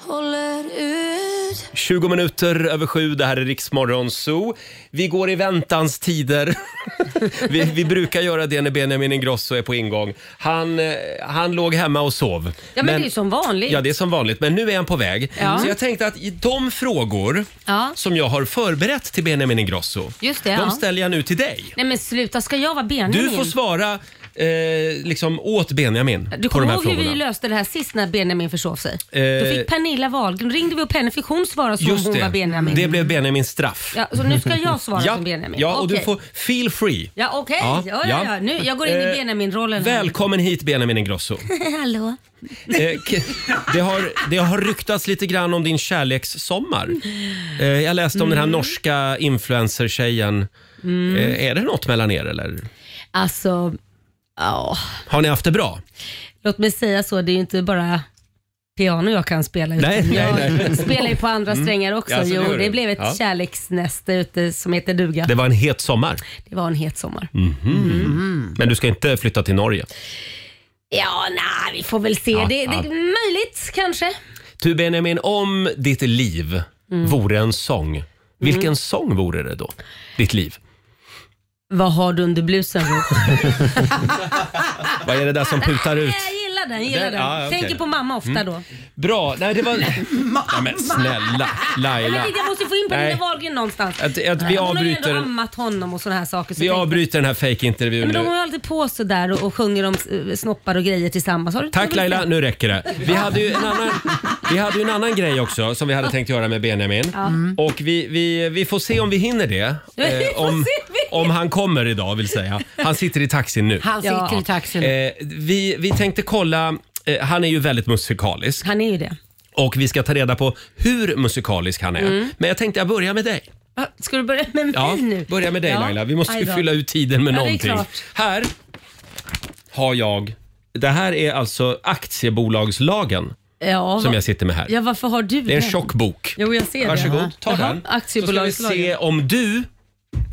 Håller ut. 20 minuter över sju, det här är Riksmorgon Zoo. Vi går i väntans tider. vi, vi brukar göra det när Benjamin Ingrosso är på ingång. Han, eh, han låg hemma och sov. Ja men, det är ju som vanligt. Ja, det är som vanligt. Men nu är han på väg. Ja. Så jag tänkte att i de frågor Ja. som jag har förberett till Benjamin Ingrosso, Just det, de ja. ställer jag nu till dig. Nej men sluta, ska jag vara Benjamin? Du får svara eh, liksom åt Benjamin Du på de kommer här ihåg hur vi frågorna. löste det här sist när Benjamin försov sig? Eh. Då fick Pernilla Wahlgren, ringde vi upp henne, fick hon svara som Just hon var det, Benjamin? det blev Benjamins straff. Ja, så nu ska jag svara som Benjamin? ja och du Okej. får feel free. Ja okej, Ja, ja, ja, ja. ja. Nu, jag går in Eh, i Benjamin-rollen. här. Välkommen hit Benjamin Ingrosso. Hallå. Eh, k- det, har, det har ryktats lite grann om din kärlekssommar. Eh, jag läste om den Mm. här norska influencertjejen. Eh, är det något mellan er eller? Alltså, ja. Har ni haft det bra? Låt mig säga så, det är ju inte bara piano jag kan spela. utan Nej, nej, jag nej. Mm. spelar ju på andra strängar också. Ja, så det jo, gör det, du. blev ett Ja. kärleksnäste ute som heter duga. Det Mm. Det, var en het sommar. var en het sommar. Mm. Men du ska inte flytta till Norge. Ja, nej, vi får väl se. Ja, det, det ja. är möjligt kanske. Du Benjamin, om ditt liv vore en sång, vilken Mm. sång vore det då? Ditt liv? Vad har du under blusen? Ro? Vad är det där som putar ut? jag gillar den, gillar Den- den. ja, okej. Mm. Tänker på mamma ofta då. Bra, nej det var... Nej, men snälla Jag, Laila. vet, jag måste få in Nej. Pernilla Wahlgren någonstans. Att, att vi Hon har ju ändå avbryter, ammat honom och sådana här saker. så vi tänk- avbryter den här fejkintervjun Men de nu. har ju alltid på sig där och, och sjunger om eh, snoppar och grejer tillsammans. Har du- har Tack du- Laila, nu räcker det. Vi hade ju en annan, vi hade ju en annan grej också som vi hade tänkt göra med Benjamin. Mm. Och vi, vi, vi får se om vi hinner det. eh, Ja, vi får om, se om vi hinner. om han kommer idag vill säga. Han sitter i taxin nu. Han sitter Ja. i taxin. Eh, vi, vi tänkte kolla, eh, han är ju väldigt musikalisk Han är ju det. och vi ska ta reda på hur musikalisk han är. Men jag tänkte jag börjar med dig. Va? Ska du börja med mig Ja, Mm. nu? börja med dig Ja. Laila. Vi måste ju Aj då. fylla ut tiden med Ja, det är någonting. klart. Här har jag, det här är alltså aktiebolagslagen Ja, som va- jag sitter med här. Ja, varför har du Det är en den? tjock bok. Jo, jag ser Varsågod, det. ta Jaha. den. Så ska vi Aktiebolagslagen. se om du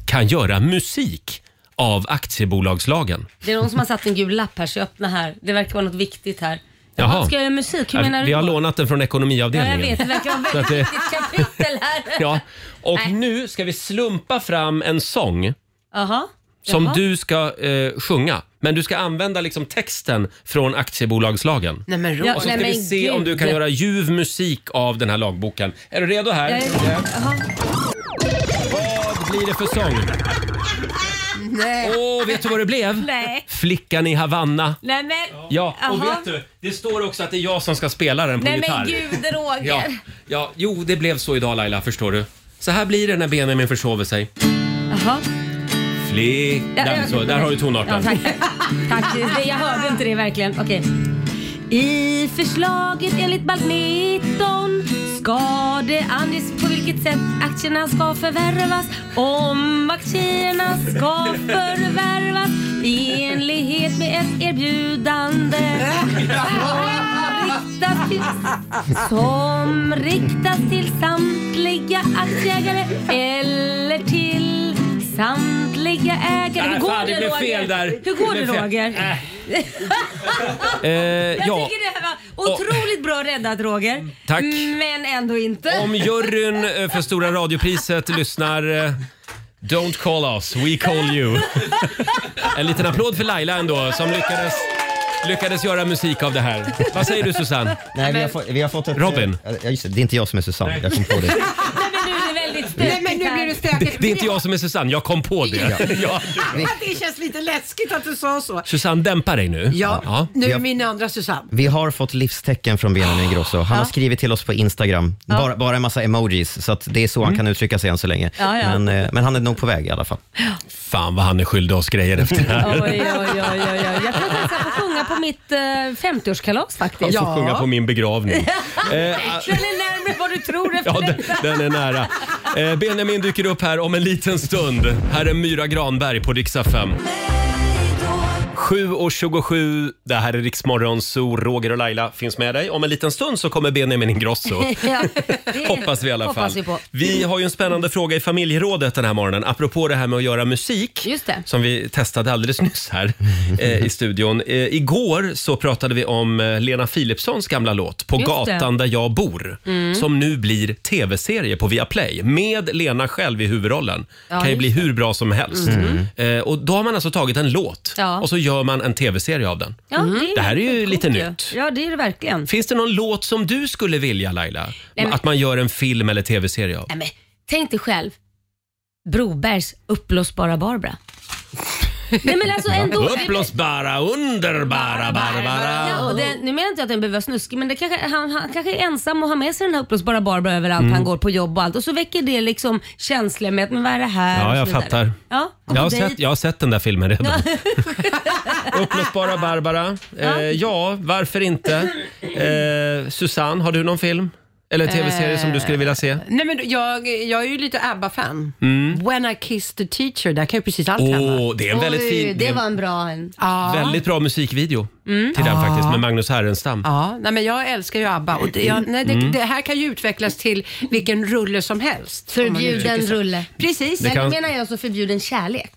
kan göra musik av aktiebolagslagen. Det är någon som har satt en gul lapp här, så jag öppnar här. Det verkar vara något viktigt här. Jaha. Jaha. Ska jag göra musik? Hur menar du? Vi har då? lånat den från Ja, jag ekonomiavdelningen. vet. Det verkar vara ett Så att väldigt det- viktigt kapitel här. Ja, och Nej. nu ska vi slumpa fram en sång Jaha. som Jaha. du ska eh, sjunga. Men du ska använda liksom texten från aktiebolagslagen. Nej men Ja, Roger. Så ska nej, vi men se om du gud. kan göra ljuv musik av den här lagboken. Är du redo här? Jag är- Jaha. Vad blir det för sång? Nej. Åh, vet du vad det blev? Nej. Flickan i Havanna. Nej men, Ja, och Jaha. vet du? Det står också att det är jag som ska spela den på nej, gitarr. men gud Roger. Ja, ja, jo, det blev så idag Laila, förstår du. Så här blir det när Benjamin försover sig. Jaha. Flick... Ja, där, ja, så, där har du tonarten. Ja, tack. tack. Det- Jag hörde inte det verkligen. Okej. I förslaget enligt balk 19 ska det anges på vilket sätt aktierna ska förvärvas. Om aktierna ska förvärvas i enlighet med ett erbjudande riktas till, som riktas till samtliga aktieägare eller till samtliga ägare. Nej, Hur går fan, det blev Roger? fel där. Hur går Det det, blev fel. Roger? Eh, Jag ja, Mm, tycker det här var otroligt bra räddat Roger. Tack. Men ändå inte. om juryn eh, för Stora radiopriset lyssnar eh, Don't call us, we call you. En liten applåd för Laila ändå som lyckades, lyckades göra musik av det här. Vad säger du Susanne? Nej, vi har, fått- vi har fått ett... Robin. eh, Ja, just det, det är inte jag som är Susanne. Jag kom på det. Nej, men nu är det väldigt väldigt stökigt Nej, men nu blir det här. stökigt. Det, det är inte jag som är Susanne, jag kom på det. Ja. Att det känns lite läskigt att du sa så. Susanne, dämpa dig nu. Ja, nu Vi är har- min andra Susanne. Vi har fått livstecken från Benjamin Ingrosso. Han har Ja. skrivit till oss på Instagram. Ja. Bara, bara en massa emojis, så att det är så han kan uttrycka sig än så länge. Ja, ja. Men, eh, men han är nog på väg i alla fall. Fan vad han är skyldig oss grejer efter det här. Oj, oj, oj, oj, oj. Jag tror att jag ska få sjunga på mitt eh, 50-årskalas Han faktiskt. får sjunga på min begravning. Eh, Den är närmare vad du tror efter Ja, den, detta. den är nära. Eh, Benjamin dyker upp här om en liten stund. Här är Myra Granberg på Riksa 5. 7.27, det här är Riksmorgon, så Roger och Laila finns med dig. Om en liten stund så kommer Benjamin Ingrosso. Ja, det Hoppas vi i alla fall. Hoppas vi på. Vi har ju en spännande fråga i familjerådet den här morgonen, apropå det här med att göra musik. Just det. Som vi testade alldeles nyss här eh, i studion. Eh, igår så pratade vi om eh, Lena Philipssons gamla låt På Just det. gatan där jag bor. Mm. Som nu blir tv-serie på Viaplay med Lena själv i huvudrollen. Ja, kan ju just Mm. bli hur bra som helst. Eh, och då har man alltså tagit en låt Ja. och så gör man en tv-serie av den. Ja, det, är Det här är ju coolt lite nytt. Ja, det är det verkligen. Finns det någon låt som du skulle vilja Laila? men- Att man gör en film eller tv-serie av? Nej, men, tänk dig själv Brobergs uppblåsbara Barbara. Nej men alltså ändå. Uppblåsbara, underbara, Barbara. Ja, och det, nu menar jag inte att den behöver vara snuskig men det kanske, han, han kanske är ensam och har med sig den här uppblåsbara Barbara överallt. Mm. Han går på jobb och allt och så väcker det liksom känslor med att men vad är det här? Ja, och så jag vidare. fattar. Ja, Jag gå på har, dejt. sett, jag har sett den där filmen redan. Uppblåsbara Barbara. Eh, Ja. ja, varför inte? Eh, Susanne, har du någon film? Eller tv-serie som du skulle vilja se? Nej, men jag, jag är ju lite ABBA-fan. Mm. When I kissed the teacher, där kan ju precis allt Åh, hända. det är en väldigt fin- det är Oj, det en- var en bra en. Ja. Väldigt bra musikvideo Mm. till den Ja. faktiskt med Magnus Härenstam. Ja, nej, men jag älskar ju ABBA och det, jag, nej, det, Mm. det här kan ju utvecklas till vilken rulle som helst. om man Förbjuden uttrycker sig. rulle. Precis. Det Men då kan- menar jag så förbjuden kärlek.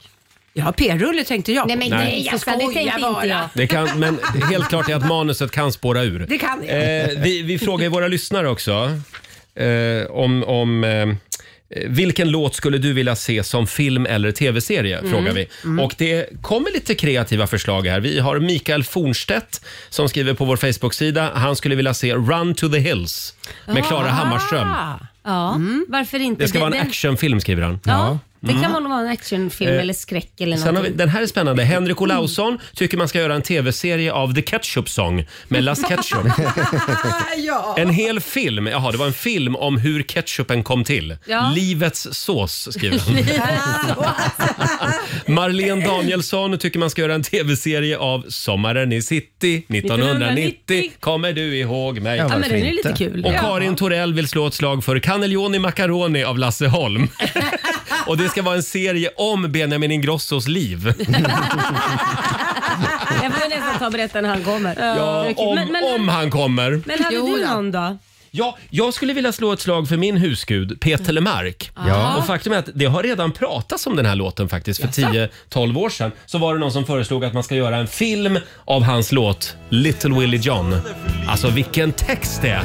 Ja, p-rulle tänkte jag. Nej men Nej. nej, Jag Jasper, det skojar tänkte inte bara. jag. Det kan, men helt klart är att manuset kan spåra ur. Det kan det. Eh, vi, vi frågar ju våra lyssnare också eh, om, om eh, vilken låt skulle du vilja se som film eller tv-serie? Mm. Frågar vi. Mm. Och det kommer lite kreativa förslag här. Vi har Mikael Fornstedt som skriver på vår Facebook-sida. Han skulle vilja se Run to the Hills med Klara Ah. Hammarström. Ja, varför inte? Det ska vara en den- actionfilm skriver han. Ja, det Mm. kan nog vara en actionfilm Eh, eller skräck eller Sen har vi, någonting. den här är spännande. Henrik Olausson tycker man ska göra en tv-serie av The Ketchup Song med Las Ketchup. ja. En hel film, jaha det var en film om hur ketchupen kom till. Ja. Livets sås skriver han. Marlene Danielsson tycker man ska göra en tv-serie av Sommaren i city 1990. Kommer du ihåg mig? Ja, men den är lite inte? kul. Och Ja. Karin Torell vill slå ett slag för Cannelloni Macaroni av Lasse Holm. Och det ska vara en serie om Benjamin Ingrossos liv. Jag får ju nästan ta och berätta när han kommer. Ja, om, men, men, om han kommer. men hade Jo du då. någon då? Ja, jag skulle vilja slå ett slag för min husgud, Peter Lemark. Ja. Och faktum är att det har redan pratats om den här låten faktiskt. För 10-12 år sedan så var det någon som föreslog att man ska göra en film av hans låt Little Willie John. Alltså vilken text det är!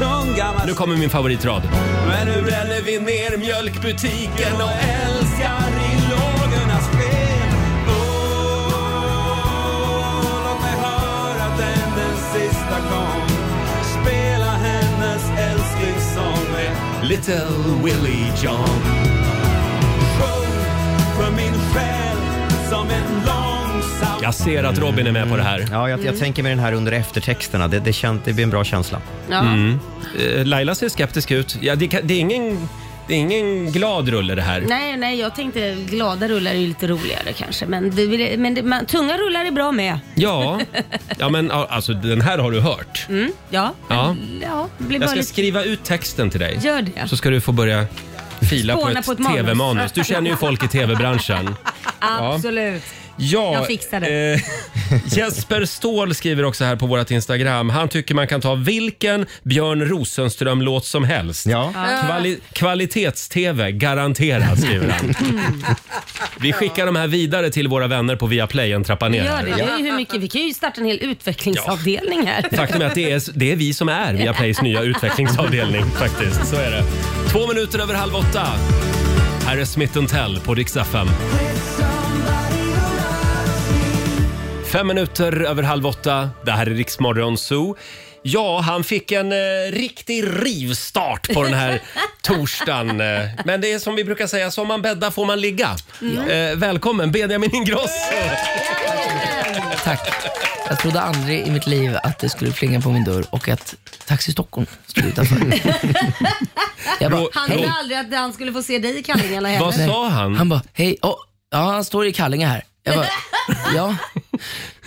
Ja. Nu kommer min favoritrad. Men nu bränner vi ner mjölkbutiken och älskar i lågornas sken Åh, låt mig höra den den sista gång Spela hennes älsklingssång med Little Willie John. Sjung för min själ som en långsam Jag ser att Robin är med på det här. Ja, jag, jag tänker med den här under eftertexterna. Det, det, kän, det blir en bra känsla. Ja. Mm. Eh, Laila ser skeptisk ut. Ja, det, kan- det, är ingen, det är ingen glad rulle det här. Nej, nej, jag tänkte glada rullar är ju lite roligare kanske. Men, det, vill- men det, man, tunga rullar är bra med. Ja, ja men ja, alltså den här har du hört. Mm, ja. Ja. ja det blir Jag bara ska lite... skriva ut texten till dig. Gör det. Så ska du få börja fila på Spåna ett, på ett manus. tv-manus. Du känner ju folk i tv-branschen. Absolut. Ja, Jag fixar det. eh, Jesper Ståhl skriver också här på vårt Instagram. Han tycker man kan ta vilken Björn Rosenström-låt som helst. Kvali- Kvalitets-tv garanterat, skriver han. Mm. Vi skickar de här vidare till våra vänner på Viaplay en trappa ner. Gör här. det. det är ju hur mycket, vi kan ju starta en hel utvecklingsavdelning här. Faktum är att det är, det är vi som är Viaplays nya utvecklingsavdelning faktiskt. Så är det. Två minuter över halv åtta. Här är Smith Tell på Rix FM. Fem minuter över halv åtta. Det här är Riksmorgon Zoo. Ja, han fick en eh, riktig rivstart på den här torsdagen. eh. Men det är som vi brukar säga, som man bäddar får man ligga. Mm. Eh, välkommen Benjamin Ingrosso! Tack. Jag trodde aldrig i mitt liv att det skulle plinga på min dörr och att Taxi Stockholm skulle utanför. Jag bara, Han hej. trodde aldrig att han skulle få se dig i kallingarna heller. han? Han bara, hej, åh, ja han står i kallingar här. Jag bara, ja,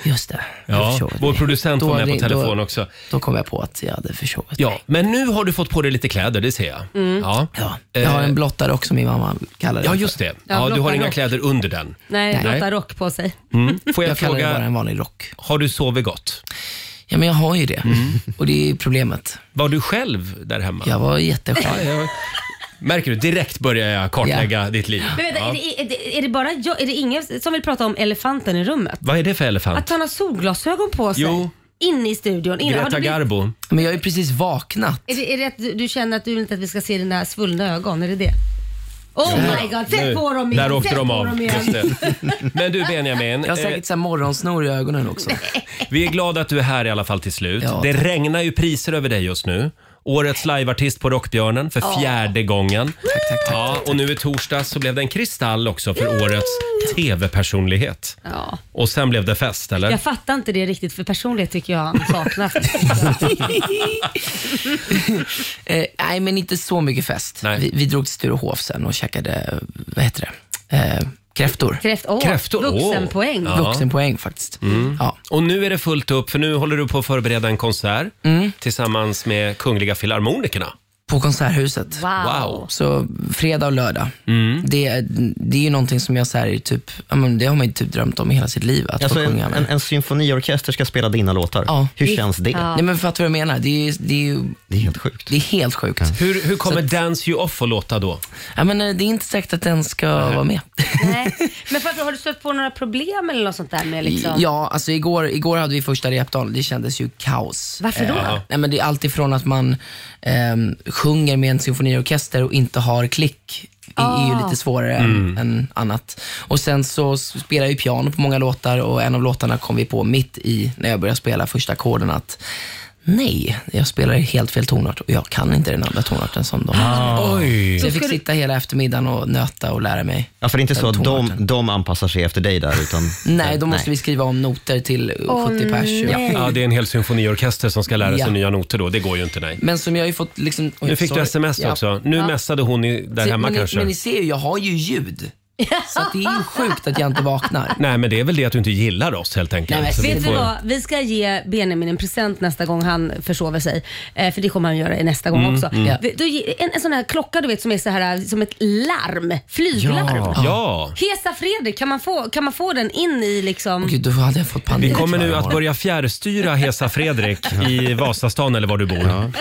just det. Jag Ja, förstår. vår producent Då var med på ring- då- telefon också. Då kom jag på att jag hade försovit Ja, men nu har du fått på dig lite kläder, det ser jag. Mm. Ja. Jag har Eh, en blottare också, min mamma kallar den Ja, för. just det. Ja, Ja, du har blotta inga rock. kläder under den. Nej, Lotta rock på sig. Mm. Får jag, Jag kallar det fråga, bara en vanlig rock. har du sovit gott? Mm. Ja, men jag har ju det. Och det är problemet. Var du själv där hemma? Jag var jätteskön. Ja, jag- Märker du, direkt börjar jag kartlägga ditt liv. Men vänta, Ja. är, det, är, det, är det bara jag, är det ingen som vill prata om elefanten i rummet? Vad är det för Att elefant? han har solglasögon på sig Jo. inne i studion. Inne, har du blivit- Garbo. Men jag är precis vaknat. Är det, är det att du, du känner att du vill inte att vi ska se dina svullna ögon? Är det det? Oh Ja. my god, sätt Nu. på dem igen! Där åkte sätt de på av. Dem igen. Just det. Men du Benjamin. eh, Jag har säkert så här morgonsnor i ögonen också. Vi är glada att du är här i alla fall till slut. Ja, det tack. regnar ju priser över dig just nu. Årets liveartist på Rockbjörnen för Ja. fjärde gången. ja, och nu i torsdags så blev det en kristall också för årets TV-personlighet. Ja. Och sen blev det fest, eller? Jag fattar inte det riktigt för personlighet tycker jag han saknar. Eh, nej, men inte så mycket fest. Vi, vi drog till Sturehof sen och käkade, eh, vad heter det, eh, kräftor. Kräft, åh, Kräftor, åh. vuxenpoäng. Ja. Vuxenpoäng faktiskt. Mm. Ja. Och nu är det fullt upp för nu håller du på att förbereda en konsert Mm. tillsammans med Kungliga Filharmonikerna. På Konserthuset. Wow. Så fredag och lördag. Mm. Mm. Det, det är ju någonting som jag så här, är typ, ja, men det har man ju typ drömt om i hela sitt liv. Att Alltså få en, sjunga med. en, en symfoniorkester ska spela dina låtar. Hur känns det? Nej, men fattar du vad jag menar? Det är, ju- det är, ju, det är helt sjukt. Det är helt sjukt. Hur, hur kommer Dance You Off att låta då? Ja, men, eh, det är inte säkert att den ska vara med. Men för, har du stött på några problem eller något sånt där med liksom? Ja, alltså igår, igår hade vi första repdagen. Det kändes ju kaos. Varför då? Eh, nej, men det är alltid från att man ehm, sjunger med en symfoniorkester och inte har klick. Det är ju Ah. lite svårare Mm. än, än annat. Och Sen så spelar jag ju piano på många låtar och en av låtarna kom vi på mitt i, när jag började spela första ackorden, att nej, jag spelar i helt fel tonart och jag kan inte den andra tonarten som de Ah. Oj. Så jag fick Så ska du- sitta hela eftermiddagen och nöta och lära mig. Ja, för det är inte så att de, Tonarten. de anpassar sig efter dig där, utan... Nej, då måste vi skriva om noter till Åh, 70 pers. Ja. ja, det är en hel symfoniorkester som ska lära sig Ja. nya noter då. Det går ju inte, nej. Men som jag har ju fått liksom... Oj, nu fick sorry. du sms Ja. också. Nu Ja. mässade hon i, där Se, hemma men ni, kanske. Men ni ser ju, jag har ju ljud. Så att det är ju sjukt att jag inte vaknar. Nej, men det är väl det att du inte gillar oss helt enkelt. Så vi Vet du får- vad? Vi ska ge Benjamin en present nästa gång han försover sig. Eh, för det kommer han göra nästa gång Mm, också. mm. Ja. Vi- Då, ge- en, en sån här klocka du vet som är så här eh, som ett larm. Flyglarm. Ja. Ja. Hesa Fredrik, kan man, få, kan man få den in i liksom... Gud, då hade jag fått panik. Vi kommer nu tror jag. att börja fjärrstyra Hesa Fredrik i Vasastan eller var du bor.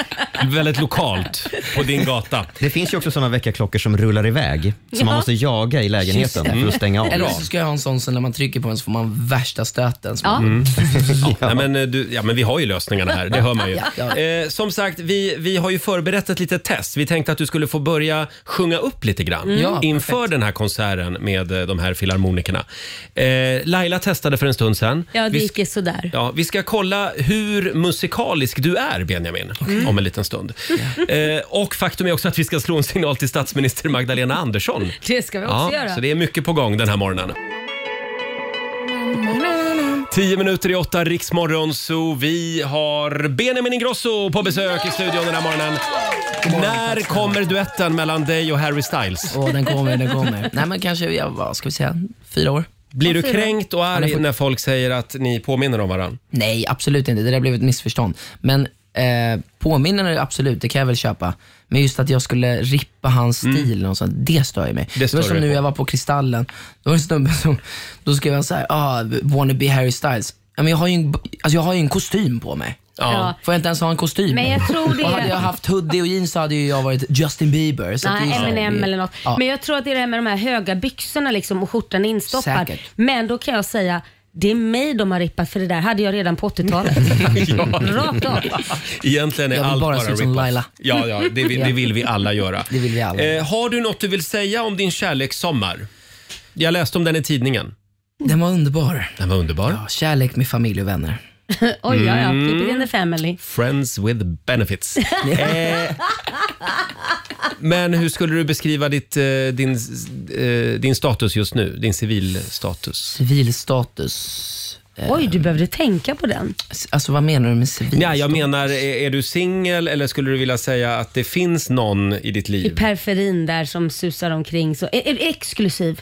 Väldigt lokalt på din gata. Det finns ju också sådana väckarklockor som rullar iväg, som man Ja. måste jaga i Just lägenheten det. för att stänga av. Eller så ska jag ha en sån som när man trycker på den så får man värsta stöten. som Ja. man- Mm. Ja, nej, men, eh, du, ja, men vi har ju lösningarna här, det hör man ju. Ja, ja. Eh, som sagt, vi, vi har ju förberett ett litet test. Vi tänkte att du skulle få börja sjunga upp lite grann Mm. Ja, inför den här konserten med eh, de här filharmonikerna. Eh, Laila testade för en stund sedan. Ja, det Vi gick ju sådär. Ja, vi ska kolla hur musikalisk du är, Benjamin, Okej. Mm. om en liten stund. Eh, och faktum är också att vi ska slå en signal till statsminister Magdalena Andersson. Det ska vi också ja, göra. Så det är mycket på gång den här morgonen. Tio minuter i åtta, Riksmorgon, så vi har Benjamin Ingrosso på besök i studion den här morgonen. När kommer duetten mellan dig och Harry Styles? Åh, den kommer, den kommer. Nej, men kanske, jag, vad ska vi säga, fyra år. Blir du Ja, fyra. kränkt och Ja, den arg får- när folk säger att ni påminner om varandra? Nej, absolut inte. Det där blev ett missförstånd. Men eh, påminnande, absolut, det kan jag väl köpa. Men just att jag skulle rippa hans stil, och sånt, det stör ju mig. Det, stör var som dig nu på. jag var på Kristallen. Då var det en snubbe som, då skrev han så här, ah, wanna be Harry Styles. Ja, Men jag, har ju en, alltså jag har ju en kostym på mig. Ja. Får jag inte ens ha en kostym? Men jag tror det- Och hade jag haft hoodie och jeans så hade ju jag varit Justin Bieber. Så att det Nej, är ju- M&M eller något. Ja. Men jag tror att det är det här med de här höga byxorna liksom och skjortan instoppad. Säkert. Men då kan jag säga, det är mig de har rippat för det där hade jag redan på 80-talet. Rakt av. Egentligen är Jag vill allt bara bara se ut som rip-off. Laila. Ja, ja det, vill, Ja. det vill vi alla göra. Det vill vi alla. Eh, har du något du vill säga om din kärlekssommar? Jag läste om den i tidningen. Den var underbar. Den var underbar. Ja, kärlek med familj och vänner. Oj, ja, ja. Mm. Keep it in the family. Friends with benefits. eh, men hur skulle du beskriva ditt, eh, din, eh, din status just nu? Din civilstatus? Civilstatus? Eh, Oj, du behövde tänka på den. Alltså vad menar du med civil? Ja, jag menar, är, är du singel eller skulle du vilja säga att det finns någon i ditt I liv? periferin där som susar omkring. Så, är, är du exklusiv?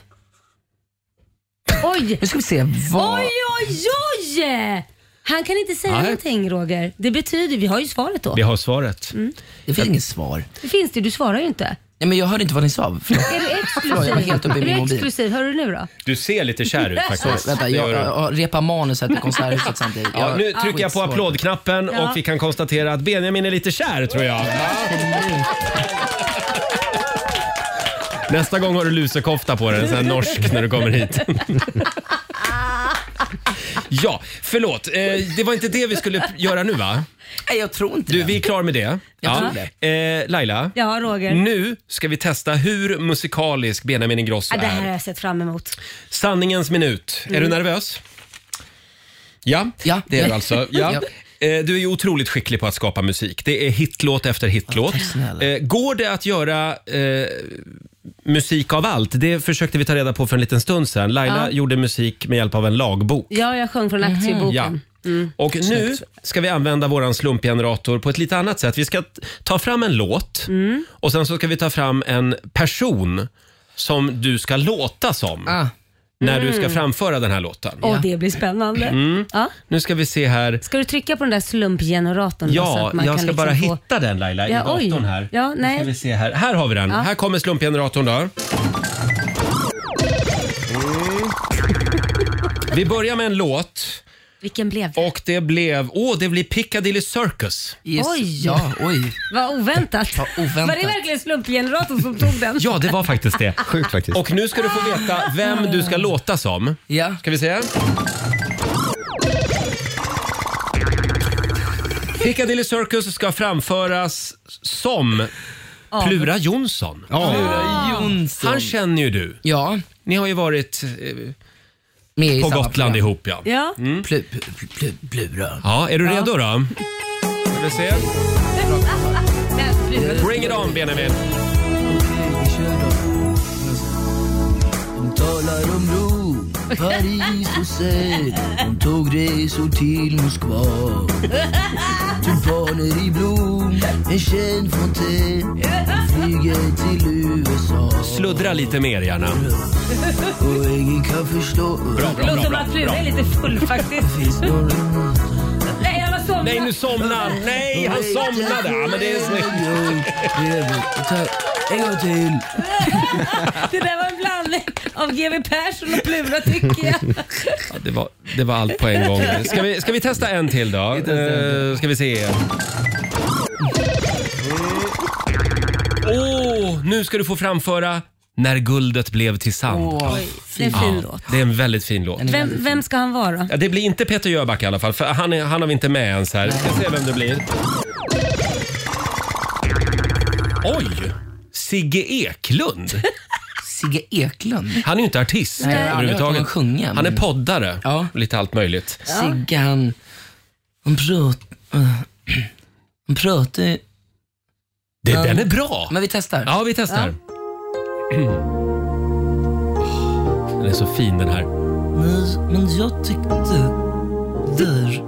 Oj! Nu ska vi se vad... Oj, oj, oj! Han kan inte säga Nej. någonting Roger. Det betyder, vi har ju svaret då. Vi har svaret. Mm. Det finns inget svar. Det finns det, du svarar ju inte. Nej, men jag hörde inte vad ni sa. Förlåt. Är du Förlåt, exklusiv? jag var helt uppe i är du min mobil. exklusiv? Hör du nu då? Du ser lite kär ut faktiskt. Vänta, jag, Det gör jag, du. jag repar manuset i Konserthuset samtidigt. Ja, Jag- nu Ah. trycker jag på skitsvårt. applådknappen Ja. och vi kan konstatera att Benjamin är lite kär tror jag. Nästa gång har du lusekofta på dig, en sån här norsk när du kommer hit. Ja, förlåt. Eh, det var inte det vi skulle p- göra nu va? Nej, jag tror inte Du, vi är klara med det. Jag ja. tror Eh, Laila, Ja, Roger. nu ska vi testa hur musikalisk Benjamin Ingrosso Ja, det här har är. jag sett fram emot. Sanningens minut. Är Mm. du nervös? Ja, det är du alltså. Ja. Eh, Du är ju otroligt skicklig på att skapa musik. Det är hitlåt efter hitlåt. Eh, Går det att göra eh, musik av allt? Det försökte vi ta reda på för en liten stund sedan. Laila Ja. gjorde musik med hjälp av en lagbok. Ja, jag sjöng från aktieboken. Mhm. Ja. Mm. Och nu ska vi använda våran slumpgenerator på ett lite annat sätt. Vi ska t- ta fram en låt Mm. och sen så ska vi ta fram en person som du ska låta som när du ska Ah. Mm. framföra den här låten. Och det blir spännande. Mm. Ja. Nu ska vi se här. Ska du trycka på den där slumpgeneratorn? då, så Ja, att man jag kan ska liksom bara få... hitta den Laila i Ja, oj. datorn här. Ja, Då nej. Ska vi se här. här har vi den. Ja. Mm. Här kommer slumpgeneratorn då. Vi börjar med en låt. Vilken blev det? Och det blev, åh det blir Piccadilly Circus. Yes. Oj. Ja, oj. Vad oväntat. oväntat. Var det verkligen slumpgeneratorn som tog den? Ja, det var faktiskt det. Sjukt faktiskt. Och nu ska du få veta vem du ska låta som. Ja. Ska vi se? Piccadilly Circus ska framföras som Av- Plura Jonsson. Ja. Plura Jonsson. Han känner ju du. Ja. Ni har ju varit eh, i på samma Gotland program. ihop. Ja. Ja. Mm. Plu, plu, plu, plu, plura. ja, är du redo då? Ska vi se? Bring it on Benjamin. Hon talar om Rom, Paris och Seine Om tågresor till Moskva Tulpaner i blom, en känd fontän Hon flyger till USA Sluddra lite mer gärna. Och ingen kan förstå Bra, bra, bra, bra, bra. lite full faktiskt. Nej, han har somnat. Nej, nu somnar han. Nej, han somnade. Ja, men det är snyggt. En gång till. Det där var en blandning av GW Persson och Plura tycker jag. Ja, det, var, det var allt på en gång. Ska vi, ska vi testa en till då? Eh, ska vi se. Åh, nu ska du få framföra När guldet blev till sand. Åh, Oj, det är en fin låt. Det är en väldigt fin låt. Vem, vem ska han vara? Ja, det blir inte Peter Jöback i alla fall, för han, är, han har vi inte med ens här. Vi ska se vem det blir. Oj! Sigge Eklund. Sigge Eklund? Han är ju inte artist Nej, jag har aldrig hört överhuvudtaget. honom sjunga, men- Han är poddare och lite allt möjligt. Sigge han, han pratar... Han pratar ju- Det, Ja. Den är bra! Men vi testar. Ja, vi testar. Den är så fin den här. Men, men jag tyckte där...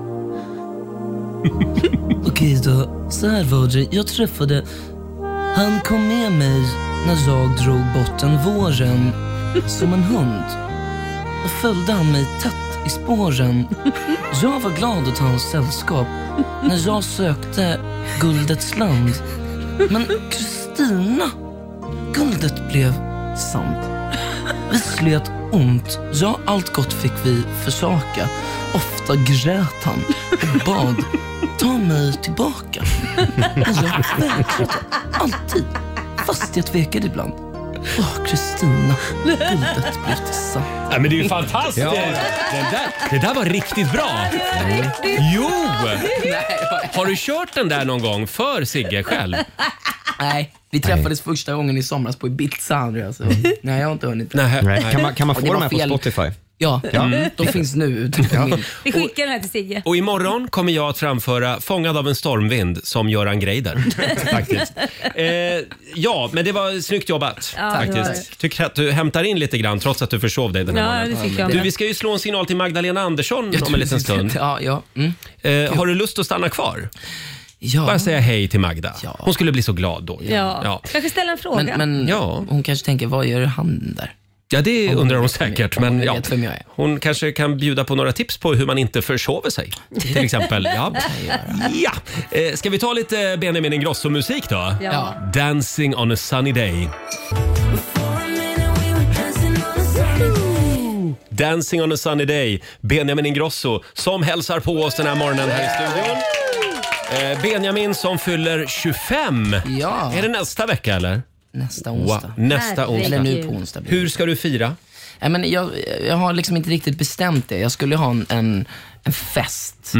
Okej då, så här var det. Jag träffade... Han kom med mig när jag drog bort en våren som en hund. Då följde han mig tätt i spåren. Jag var glad åt hans sällskap när jag sökte guldets land. Men Kristina, guldet blev sant. Vi slet ont, ja allt gott fick vi försaka. Ofta grät han och bad, ta mig tillbaka. Men jag vägrade alltid, fast jag tvekade ibland. Åh, Kristina, guldet blev till sand. Ja, men det är ju fantastiskt! Ja. Den där, det där var riktigt bra! Jo! Har du kört den där någon gång för Sigge själv? Nej, vi träffades första gången i somras på Ibiza. Andreas. Mm. Nej, jag har inte hunnit. Nej, Nej. Kan man, kan man Och få det var dem här fel- på Spotify? Ja, Mm. de finns nu ute på min. Vi skickar den här till Sigge. Och imorgon kommer jag att framföra Fångad av en stormvind som Göran Greider. faktiskt. Eh, ja, men det var snyggt jobbat. Ja, det var faktiskt. Tycker att du hämtar in lite grann trots att du försov dig den här Ja, morgonen. det fick jag Du, med. vi ska ju slå en signal till Magdalena Andersson Ja, om en liten stund. Ja, ja. Mm. Eh, har du lust att stanna kvar? Bara säga hej till Magda. Hon skulle bli så glad då. Ja. Kanske ställa en fråga. Men, men hon kanske tänker, vad gör han där? Ja, det undrar hon säkert. Men ja, vet vem jag är. hon kanske kan bjuda på några tips på hur man inte försover sig. Till exempel. Ja. ja. Eh, Ska vi ta lite Benjamin Ingrosso-musik då? Ja. Dancing on a sunny day. Dancing on a sunny day. Benjamin Ingrosso som hälsar på oss den här morgonen här i studion. Eh, Benjamin som fyller 25. Ja. Är det nästa vecka eller? Nästa onsdag. Wow, Nästa onsdag. Eller nu på onsdag. Hur ska du fira? Nej, men jag, jag har liksom inte riktigt bestämt det. Jag skulle ha en, en, en fest.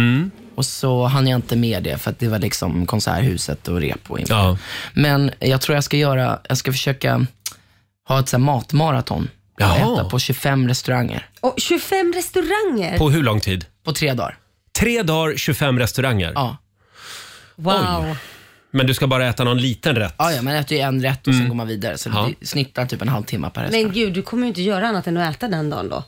Och så hann jag inte med det för att det var liksom konserthuset och rep och inför. Men jag tror jag ska göra, jag ska försöka ha ett så här matmaraton. Äta på 25 restauranger. Och 25 restauranger. På hur lång tid? På tre dagar. Tre dagar, 25 restauranger? Ja. Wow. Men du ska bara äta någon liten rätt? Ja, ja man äter ju en rätt och sen går man vidare. Så Ja. det snittar typ en halvtimme per restaurang. Men gud, du kommer ju inte göra annat än att äta den dagen då.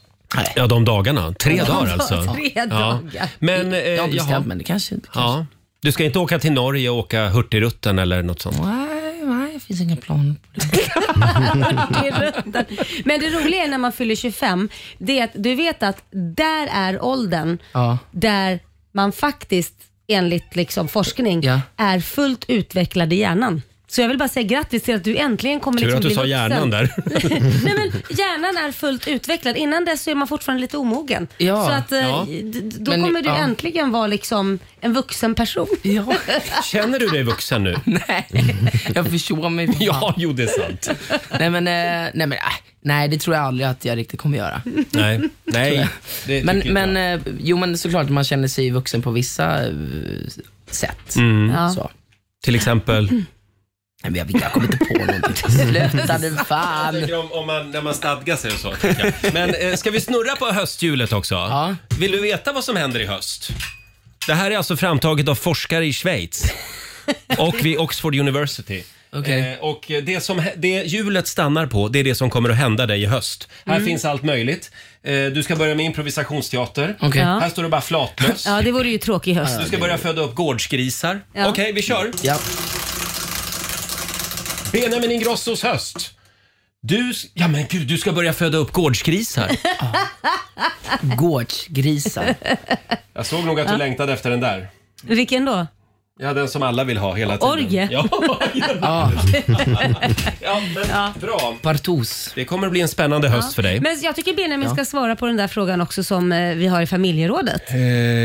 Ja, de dagarna. Tre Ja, de dagar dagar, alltså. tre Ja. dagar. Men, eh, Jag har bestämt, jaha. men det kanske inte... Ja. Du ska inte åka till Norge och åka Hurtigruten eller något sånt? Nej, nej, det finns inga planer på Det är rutten. Men det roliga är när man fyller 25, det är att du vet att där är åldern Ja. där man faktiskt enligt liksom forskning är fullt utvecklad i hjärnan. Så jag vill bara säga grattis till att du äntligen kommer Tur liksom att du bli sa vuxen. hjärnan där. Nej, men hjärnan är fullt utvecklad. Innan dess så är man fortfarande lite omogen. Ja, så att, eh, ja. d- d- Då Men- kommer du ja. äntligen vara liksom en vuxen person. Känner du dig vuxen nu? Nej, jag försov mig. Ja, jo det är sant. nej, men, eh, nej, men äh, nej, det tror jag aldrig att jag riktigt kommer göra. Nej, nej. Det Men, tycker men, eh, jo, men såklart, man känner sig vuxen på vissa eh, sätt. Mm. Ja. Så. Till exempel? Nej, men jag, jag kommer inte på någonting. Sluta nu, Jag fan. tänker om, om man, när man stadgar sig och så. tycker jag. Men eh, ska vi snurra på hösthjulet också? Vill du veta vad som händer i höst? Det här är alltså framtaget av forskare i Schweiz och vid Oxford University. Eh, och det som hä- det hjulet stannar på, det är det som kommer att hända dig i höst. Här Mm. finns allt möjligt. Eh, du ska börja med improvisationsteater. Okej. Ja. Här står du bara flatlös. Ja, det vore ju tråkig höst. Du ska börja föda upp gårdsgrisar. Ja. Okej, vi kör. Ja. Benjamin Ingrossos höst. Du, s- ja men gud, du ska börja föda upp gårdsgrisar. Gårdsgrisar. Jag såg nog att du Ja. längtade efter den där. Vilken då? Ja, den som alla vill ha hela tiden. Orgie? Ja, ja. ja men bra. Partos. Det kommer att bli en spännande höst för dig. Men jag tycker Benjamin Ja. ska svara på den där frågan också som eh, vi har i familjerådet. Eh,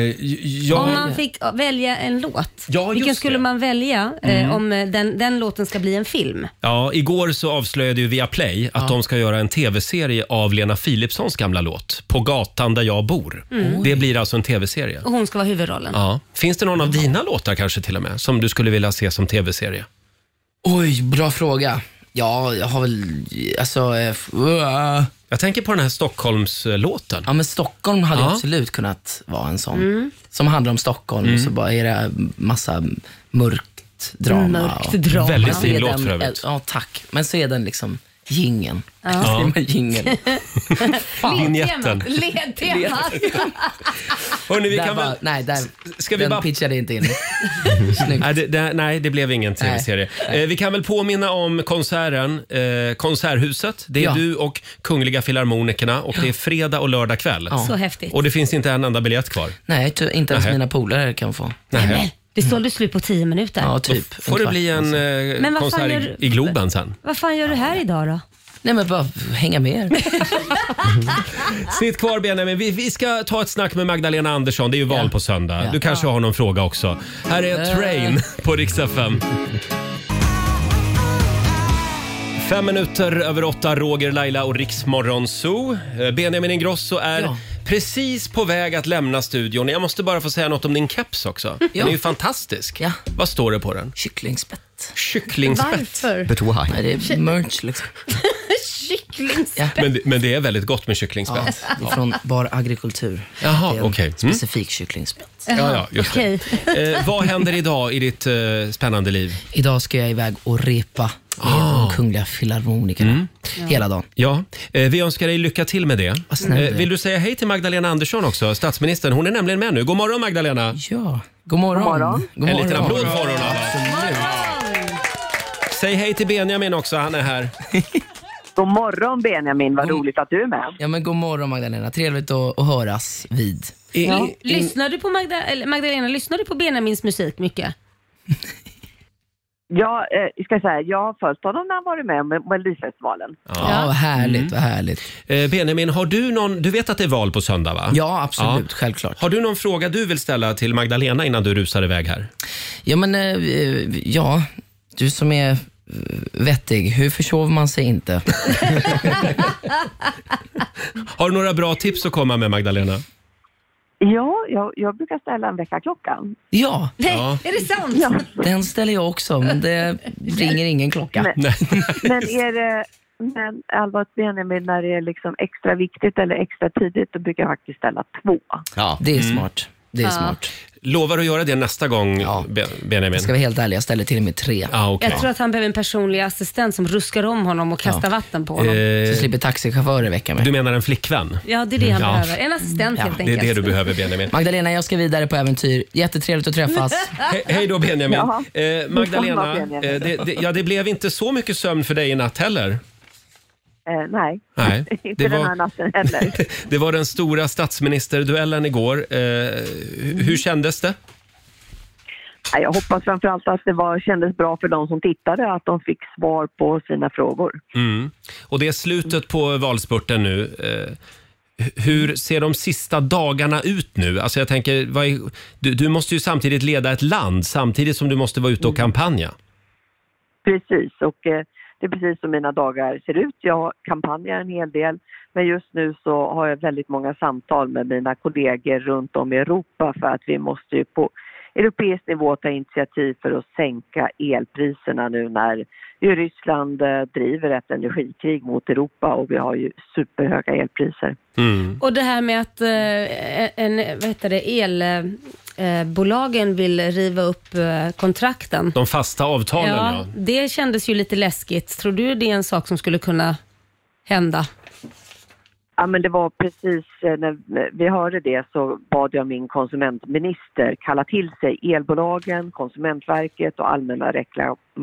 j- jag- Om man fick eh, välja en låt, Ja, just vilken skulle det. man välja eh, Mm. om eh, den, den låten ska bli en film? Ja, igår så avslöjade ju Viaplay att de ska göra en tv-serie av Lena Philipssons gamla låt På gatan där jag bor. Mm. Det blir alltså en tv-serie. Och hon ska vara huvudrollen. Ja. Finns det någon av dina låtar kanske till och med som du skulle vilja se som tv-serie? Oj, bra fråga. Ja, jag har väl... Alltså, eh, f- uh. Jag tänker på den här Stockholmslåten. Ja, men Stockholm hade Ja. absolut kunnat vara en sån. Mm. Som handlar om Stockholm Mm. och så bara är det massa mörkt drama. Mörkt och- drama. Väldigt Så fin är låt Mm. den- för övrigt. Ja, tack. Men så är den liksom gingen. Ja. Ja. Ja. gingen. Vinjetten. Ledtemat. Hörrni, vi Där kan väl... var- Nej, där, Ska vi den bara- pitchade inte in. Nej det, det, nej, det blev ingen tv-serie. Eh, vi kan väl påminna om konserten, eh, Konserthuset. Det är Ja. du och Kungliga Filharmonikerna och det är fredag och lördag kväll. Ja. Så häftigt. Och det finns inte en enda biljett kvar. Nej, ty- inte ens Nej. mina polare kan få. Nej. typ. Det sålde slut på tio minuter. Typ, Då får det bli en eh, Men vad fan konsert gör i, du- i Globen sen. Vad fan gör du här idag då? Nej men bara hänga med er. Sitt kvar Benjamin. Vi, vi ska ta ett snack med Magdalena Andersson. Det är ju val på söndag. Du kanske har någon fråga också. Här Eh. är Train på Rix FM. Fem minuter över åtta, Roger, Laila och Riksmorgon Zoo. Eh, Benjamin Ingrosso är precis på väg att lämna studion. Jag måste bara få säga något om din keps också. Den är ju fantastisk. Vad står det på den? Kycklingspett. Kycklingspett. Varför? eh, But why? Nej, det är merch liksom. kycklingspett. Men, det- men det är väldigt gott med kycklingspett. Ja, från Bar Agrikultur. Jaha, Det är en okej. Mm. Specifik kycklingspett. Ja, ja, just det. Eh, vad händer idag i ditt eh, spännande liv? Idag ska jag iväg och repa med Ah. Mm. de kungliga filharmonikerna. Hela dagen. Ja, eh, vi önskar dig lycka till med det. Eh, snäll du är. vill du säga hej till Magdalena Andersson också, statsministern? Hon är nämligen med nu. God morgon Magdalena! Ja, god morgon. God morgon. God En liten morgon. applåd får hon av oss. Säg hej till Benjamin också, han är här. God morgon Benjamin, Mm. vad roligt att du är med. Ja, men god morgon Magdalena. Trevligt att, att höras vid. Ja. Lyssnar du på Magda, eller Magdalena, lyssnar du på Benjamins musik mycket? Jag eh, ska säga, jag har följt honom när han varit med om Melodifestivalen. Ja, Mm. vad härligt, vad härligt. Eh, Benjamin, har du någon, du vet att det är val på söndag va? Ja, absolut, självklart. Har du någon fråga du vill ställa till Magdalena innan du rusar iväg här? Ja, men eh, ja, du som är eh, vettig, hur försover man sig inte? Har du några bra tips att komma med Magdalena? Ja, jag, jag brukar ställa en väckarklocka. Ja. Nej, Ja. är det sant? Den ställer jag också, men det ringer ingen klocka. Nej. Men är det, men allvarligt Benjamin, när det är liksom extra viktigt eller extra tidigt, då brukar jag faktiskt ställa två. Ja. Det är smart. Det är Ja. smart. Lovar att göra det nästa gång, Be- Benjamin? Jag ska vara helt ärlig, jag ställer till och med tre. Ja, okej. Jag tror att han behöver en personlig assistent som ruskar om honom och kastar vatten på honom. Så slipper taxichaufförer väcka mig. Du menar en flickvän? Ja, det är det han Ja. behöver. En assistent Ja, helt det är enkelt. Det är det du behöver Benjamin. Magdalena, jag ska vidare på äventyr. Jättetrevligt att träffas. He- hej då Benjamin. Jaha. Eh, Magdalena, Detsamma, Benjamin. eh, det, det, ja, det blev inte så mycket sömn för dig i natt heller. Eh, nej, Nej, inte det den här var, natten heller. det var den stora statsministerduellen igår. Eh, hu- hur kändes det? Nej, Jag hoppas framförallt att det var, kändes bra för de som tittade, att de fick svar på sina frågor. Mm. Och det är slutet på valspurten nu. Eh, hu- hur ser de sista dagarna ut nu? Alltså jag tänker, vad är, du, du måste ju samtidigt leda ett land samtidigt som du måste vara ute och kampanja. Precis, och eh, det är precis som mina dagar ser ut. Jag kampanjar en hel del, men just nu så har jag väldigt många samtal med mina kollegor runt om i Europa för att vi måste ju på europeisk nivå ta initiativ för att sänka elpriserna nu när ju Ryssland eh, driver ett energikrig mot Europa och vi har ju superhöga elpriser. Och det här med att eh, en, vad heter det, elbolagen eh, bolagen vill riva upp eh, kontrakten. De fasta avtalen ja. Det kändes ju lite läskigt. Tror du det är en sak som skulle kunna hända? Ja, men det var precis eh, när vi hörde det så bad jag min konsumentminister kalla till sig elbolagen, Konsumentverket och Allmänna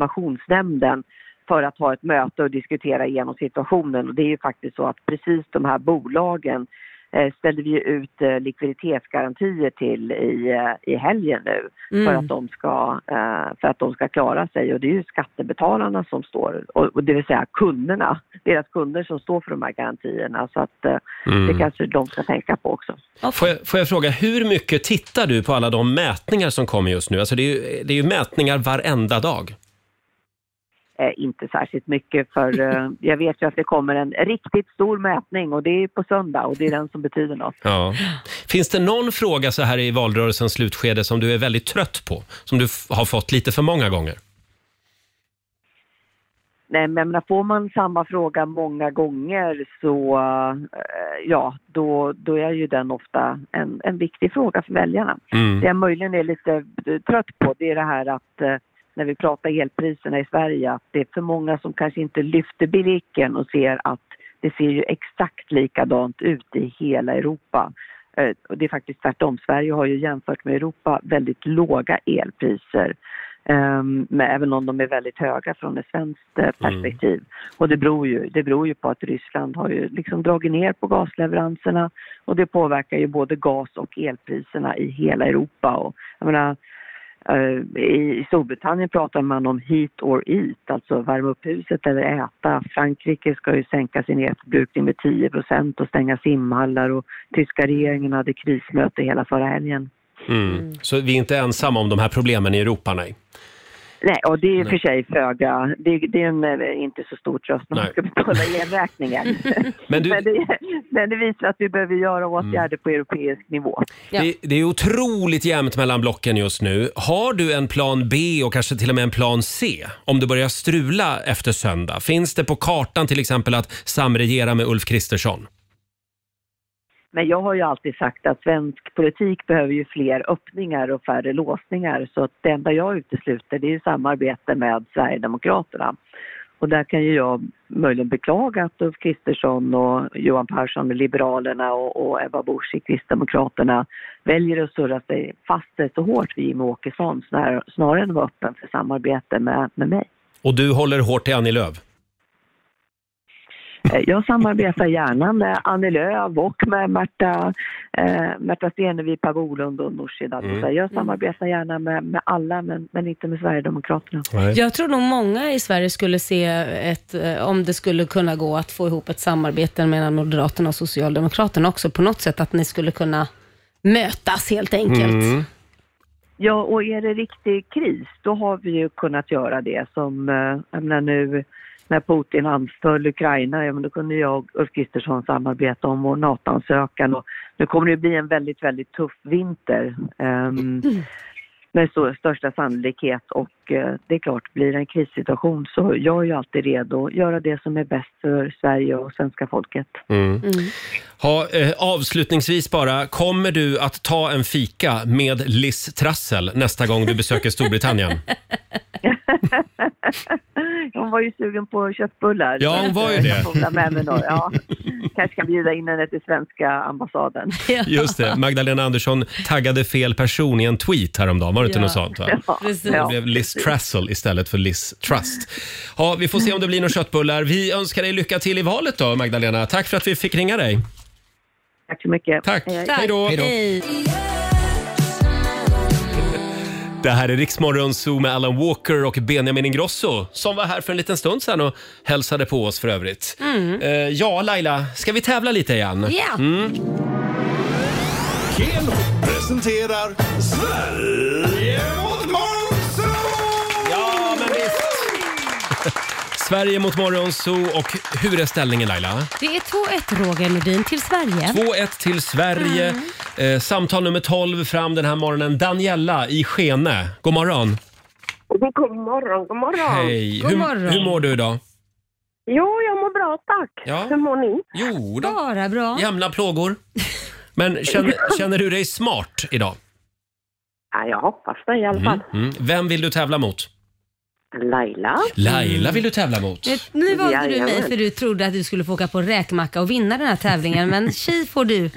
reklamationsnämnden för att ha ett möte och diskutera igenom situationen. Och det är ju faktiskt så att precis de här bolagen eh, ställde vi ju ut eh, likviditetsgarantier till i, eh, i helgen nu Mm. för, att de ska, eh, för att de ska klara sig. Och det är ju skattebetalarna som står, och, och det vill säga kunderna, deras kunder som står för de här garantierna. Så att eh, Mm. det kanske de ska tänka på också. Får jag, får jag fråga, hur mycket tittar du på alla de mätningar som kommer just nu? Alltså det, är ju, det är ju mätningar varenda dag. Eh, inte särskilt mycket för eh, jag vet ju att det kommer en riktigt stor mätning och det är på söndag och det är den som betyder något. Ja. Finns det någon fråga så här i valrörelsens slutskede som du är väldigt trött på? Som du f- har fått lite för många gånger? Nej, men jag menar, får man samma fråga många gånger så eh, ja, då, då är ju den ofta en, en viktig fråga för väljarna. Mm. Det jag möjligen är lite eh, trött på det är det här att eh, när vi pratar elpriserna i Sverige att det är för många som kanske inte lyfter blicken och ser att det ser ju exakt likadant ut i hela Europa. Eh, och det är faktiskt tvärtom. Sverige har ju jämfört med Europa väldigt låga elpriser. Ehm, men även om de är väldigt höga från ett svenskt eh, perspektiv. Och det beror, ju, det beror ju på att Ryssland har ju liksom dragit ner på gasleveranserna och det påverkar ju både gas och elpriserna i hela Europa. Och, jag menar, eh, i i Storbritannien pratar man om heat or eat, alltså värma upp huset eller äta. Frankrike ska ju sänka sin elförbrukning med 10 och stänga simhallar och tyska regeringen hade krismöte hela förra helgen. mm. Så vi är inte ensamma om de här problemen i Europa, nej. Nej, och det är ju för Nej. sig föga, det, är- det är en, eh, inte så stor tröst när man Nej. ska betala elräkningar. Men men, du- Mm. det, men det visar att vi behöver göra åtgärder på europeisk nivå. Det, det är otroligt jämnt mellan blocken just nu. Har du en plan B och kanske till och med en plan C om det börjar strula efter söndag? Finns det på kartan till exempel att samregera med Ulf Kristersson? Men jag har ju alltid sagt att svensk politik behöver ju fler öppningar och färre låsningar. Så att det enda jag utesluter det är ju samarbete med Sverigedemokraterna. Och där kan ju jag möjligen beklaga att Ulf Kristersson och Johan Persson med Liberalerna och, och Ebba Busch i Kristdemokraterna väljer att surra sig fast sig så hårt vid Jimmie Åkesson snarare, snarare än att vara öppen för samarbete med, med mig. Och du håller hårt till Annie Lööf? Eh, Jag samarbetar gärna med Annie Lööf och med Märta, eh, Märta Stenevi, Per Bolund och Nooshi Dadgostar. Mm. Jag samarbetar gärna med, med alla, men, men inte med Sverigedemokraterna. Eh. Jag tror nog många i Sverige skulle se ett, eh, om det skulle kunna gå att få ihop ett samarbete mellan Moderaterna och Socialdemokraterna också på något sätt, att ni skulle kunna mötas helt enkelt. Mm. Ja, och är det riktig kris, då har vi ju kunnat göra det som, eh, jag menar nu när Putin anföll Ukraina, ja men då kunde jag och Ulf Kristersson samarbeta om vår NATO-ansökan och nu kommer det bli en väldigt, väldigt tuff vinter. ehm, med så, största sannolikhet och eh, det är klart, blir det en krissituation så jag är ju alltid redo att göra det som är bäst för Sverige och svenska folket. Ha, eh, avslutningsvis bara, kommer du att ta en fika med Liz Trassel nästa gång du besöker Storbritannien? Hon var ju sugen på köttbullar. Ja, Så hon var ju jag det. får väl ha Med mig några. Ja, kanske kan bjuda in henne till svenska ambassaden. Just det, Magdalena Andersson taggade fel person i en tweet häromdagen, var det inte Ja. något sånt? Va? Ja, precis. Det blev Liz Trassel istället för Liz Trust. Ja, vi får se om det blir några köttbullar. Vi önskar dig lycka till i valet då, Magdalena. Tack för att vi fick ringa dig. Tack så mycket. Tack. Hej då. Hej. Det här är Riksmorgon Zoo med Alan Walker och Benjamin Ingrosso som var här för en liten stund sedan och hälsade på oss för övrigt. Mm. Eh, ja, Laila, ska vi tävla lite igen? Ja. Mm. Keno presenterar Sverige mot Monzo! Ja, men Sverige mot Morgonzoo och hur är ställningen Laila? Det är 2-1 Roger Nordin till Sverige. 2-1 till Sverige. Mm. Eh, samtal nummer 12 fram den här morgonen. Daniella i Skene. God morgon. God morgon, god morgon. Hej. Hur, hur mår du idag? Jo, jag mår bra tack. Ja. Hur mår ni? Jo då. Bara bra. Jämna plågor. Men känner, känner du dig smart idag? Ja, jag hoppas det i alla Mm, fall. mm. Vem vill du tävla mot? Laila. Mm. Laila vill du tävla mot. Det- Nu valde du mig Jajamän. för du trodde att du skulle få åka på räkmacka och vinna den här tävlingen, men tji får du.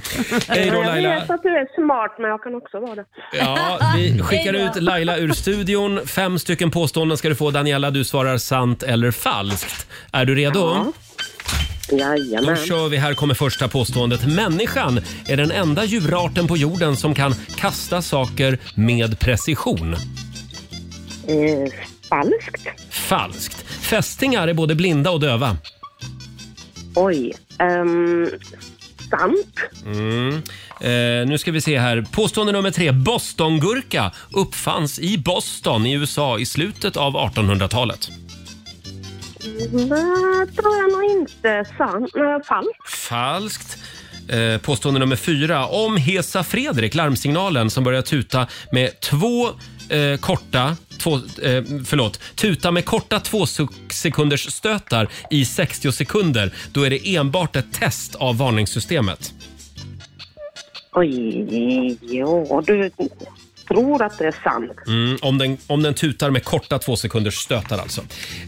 Hej då, Laila. Jag vet att du är smart, men jag kan också vara det. Ja, vi skickar ut Laila ur studion. Fem stycken påståenden ska du få. Daniela, du svarar sant eller falskt. Är du redo? Då Jajamän. kör vi. Här kommer första påståendet. Människan är den enda djurarten på jorden som kan kasta saker med precision. Eh, falskt. Falskt. Fästingar är både blinda och döva. Oj. ehm, sant. Mm. Eh, nu ska vi se här. Påstående nummer tre. Bostongurka uppfanns i Boston i USA i slutet av 1800-talet. Det tror jag nog inte. Sant. Nej, falskt. Falskt. Eh, påstående nummer fyra. Om Hesa Fredrik, larmsignalen som börjar tuta med två eh, korta... Två, eh, förlåt. Tuta med korta två sekunders stötar i 60 sekunder. Då är det enbart ett test av varningssystemet. Oj, ja, du tror att det är sant. Mm, om, den, om den tutar med korta två sekunders stötar alltså.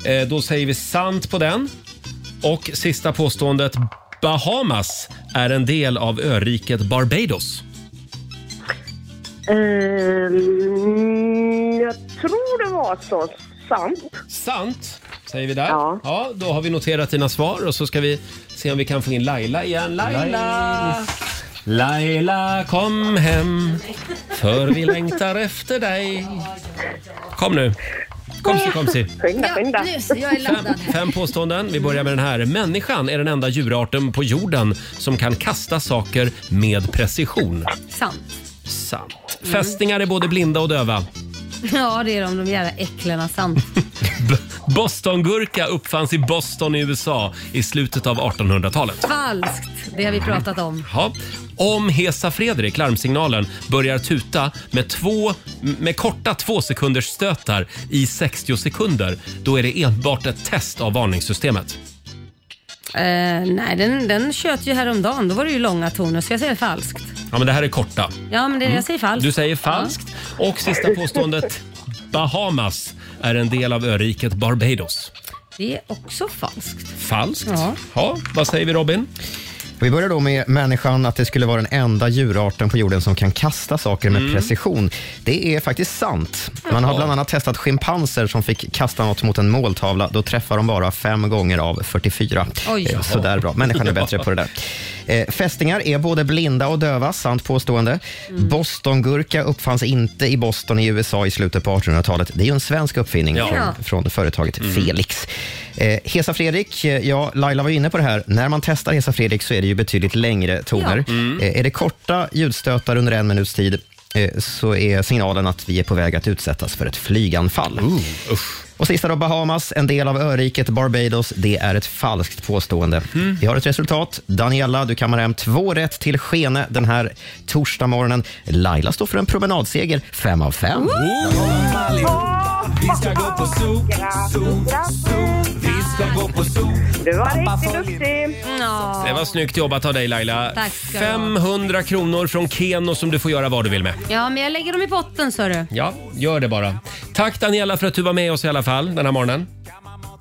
Eh, då säger vi sant på den. Och sista påståendet. Bahamas är en del av öriket Barbados. Ehm, jag tror det var så. Sant. Sant. Säger vi där. Ja. Då har vi noterat dina svar och så ska vi se om vi kan få in Laila igen. Laila! Laila kom hem för vi längtar efter dig. Kom nu. Komsi, komsi. Skynda, skynda. jag är laddad. Fem påståenden. Vi börjar med den här. Människan är den enda djurarten på jorden som kan kasta saker med precision. Sant. Sant. Fästingar är både blinda och döva. Ja, det är de, de jävla äcklena sant. Bostongurka uppfanns i Boston i USA i slutet av 1800-talet. Falskt, det har vi pratat om. Ja. Om Hesa Fredrik, larmsignalen, börjar tuta med, två, med korta två sekunders stötar i 60 sekunder, då är det enbart ett test av varningssystemet. Eh, nej, den, den tjöt ju häromdagen. Då var det ju långa toner, så jag säger falskt. Ja, men det här är korta. Ja, men det, Mm. jag säger falskt. Du säger falskt. Och sista påståendet. Bahamas är en del av öriket Barbados. Det är också falskt. Falskt. Ja. Ja, vad säger vi Robin? Vi börjar då med människan, att det skulle vara den enda djurarten på jorden som kan kasta saker med Mm. precision. Det är faktiskt sant. Man har Jaha. bland annat testat schimpanser som fick kasta något mot en måltavla. Då träffar de bara fem gånger av 44. Oj. Eh, Sådär bra. Människan är bättre på det där. Eh, Fästingar är både blinda och döva, sant påstående. Mm. Bostongurka uppfanns inte i Boston i USA i slutet på 1800-talet. Det är ju en svensk uppfinning Ja. från, från företaget Felix. Eh, Hesa Fredrik, eh, ja, Laila var ju inne på det här. När man testar Hesa Fredrik så är det ju betydligt längre toner. Ja. Mm. Eh, är det korta ljudstötar under en minuts tid eh, så är signalen att vi är på väg att utsättas för ett flyganfall. Och sista då, Bahamas, en del av öriket Barbados. Det är ett falskt påstående. Vi har ett resultat. Daniela, du kammar hem två rätt till Skene den här torsdag morgonen. Laila står för en promenadseger, fem av fem. Vi ska gå på zoo, zoo, zoo. Vi ska gå på zoo. Du var riktigt duktig. Det var snyggt jobbat av dig Laila. Tack ska du ha. 500 kronor från Keno som du får göra vad du vill med. Ja, men jag lägger dem i potten, sa du. Ja, gör det bara. Tack Daniela för att du var med oss i alla fall den här morgonen.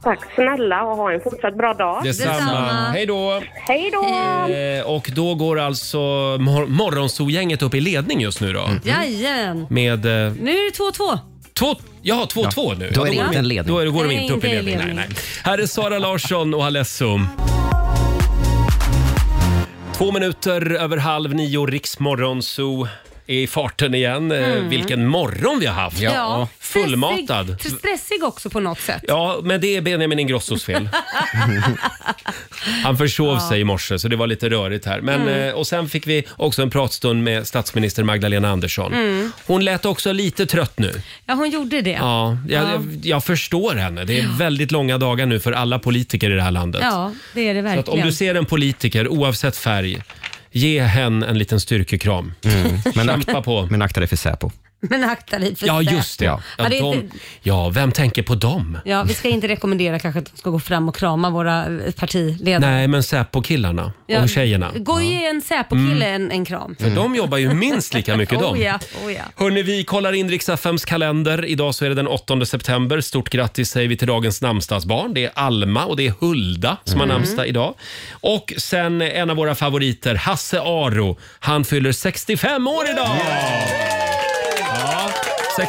Tack snälla och ha en fortsatt bra dag. Detsamma. Detsamma. Hej då. Hej då. Eh, och då går alltså mor- Morgonzoo-gänget upp i ledning just nu Mm. då. Jajamän. Med... Eh, Nu är det 2-2. Två, ja, 2-2 nu. då är det Ja, inte en ledning. Då är det, går de Nej, inte upp i inte i ledning. Nej, nej. ledning. Här är Sara Larsson och Alesso. Två minuter över halv nio, Riksmorgon Zoo är i farten igen. Eh, Mm. Vilken morgon vi har haft! Fullmatad. Stressig, stressig också på något sätt. Ja, men det är Benjamin Ingrossos fel. Han försov Ja. sig i morse, så det var lite rörigt här. Men, Mm. eh, och sen fick vi också en pratstund med statsminister Magdalena Andersson. Mm. Hon lät också lite trött nu. Ja, hon gjorde det. Ja, jag, Ja. Jag, jag förstår henne. Det är väldigt långa dagar nu för alla politiker i det här landet. Ja, det är det Så verkligen. att om du ser en politiker, oavsett färg, ge henne en liten styrkekram. Men Kämpa ak- på. Men akta dig för Säpo. Men akta dig för Ja, det. just det. Ja, Ja, det är de, inte- ja vem tänker på dem? Ja, vi ska inte rekommendera kanske att de ska gå fram och krama våra eh, partiledare. Nej, men Säpo-killarna Ja, Mm. och tjejerna. Gå och ge en Säpo-kille en, en kram. För de jobbar ju minst lika mycket Mm. de. Oh ja, oh ja. Hörrni, vi kollar in riks FMs kalender. Idag så är det den 8 september. Stort grattis säger vi till dagens namnsdagsbarn. Det är Alma och det är Hulda som har Mm. namnsdag idag. Och sen en av våra favoriter, Hasse Aro. Han fyller 65 år idag! Ja,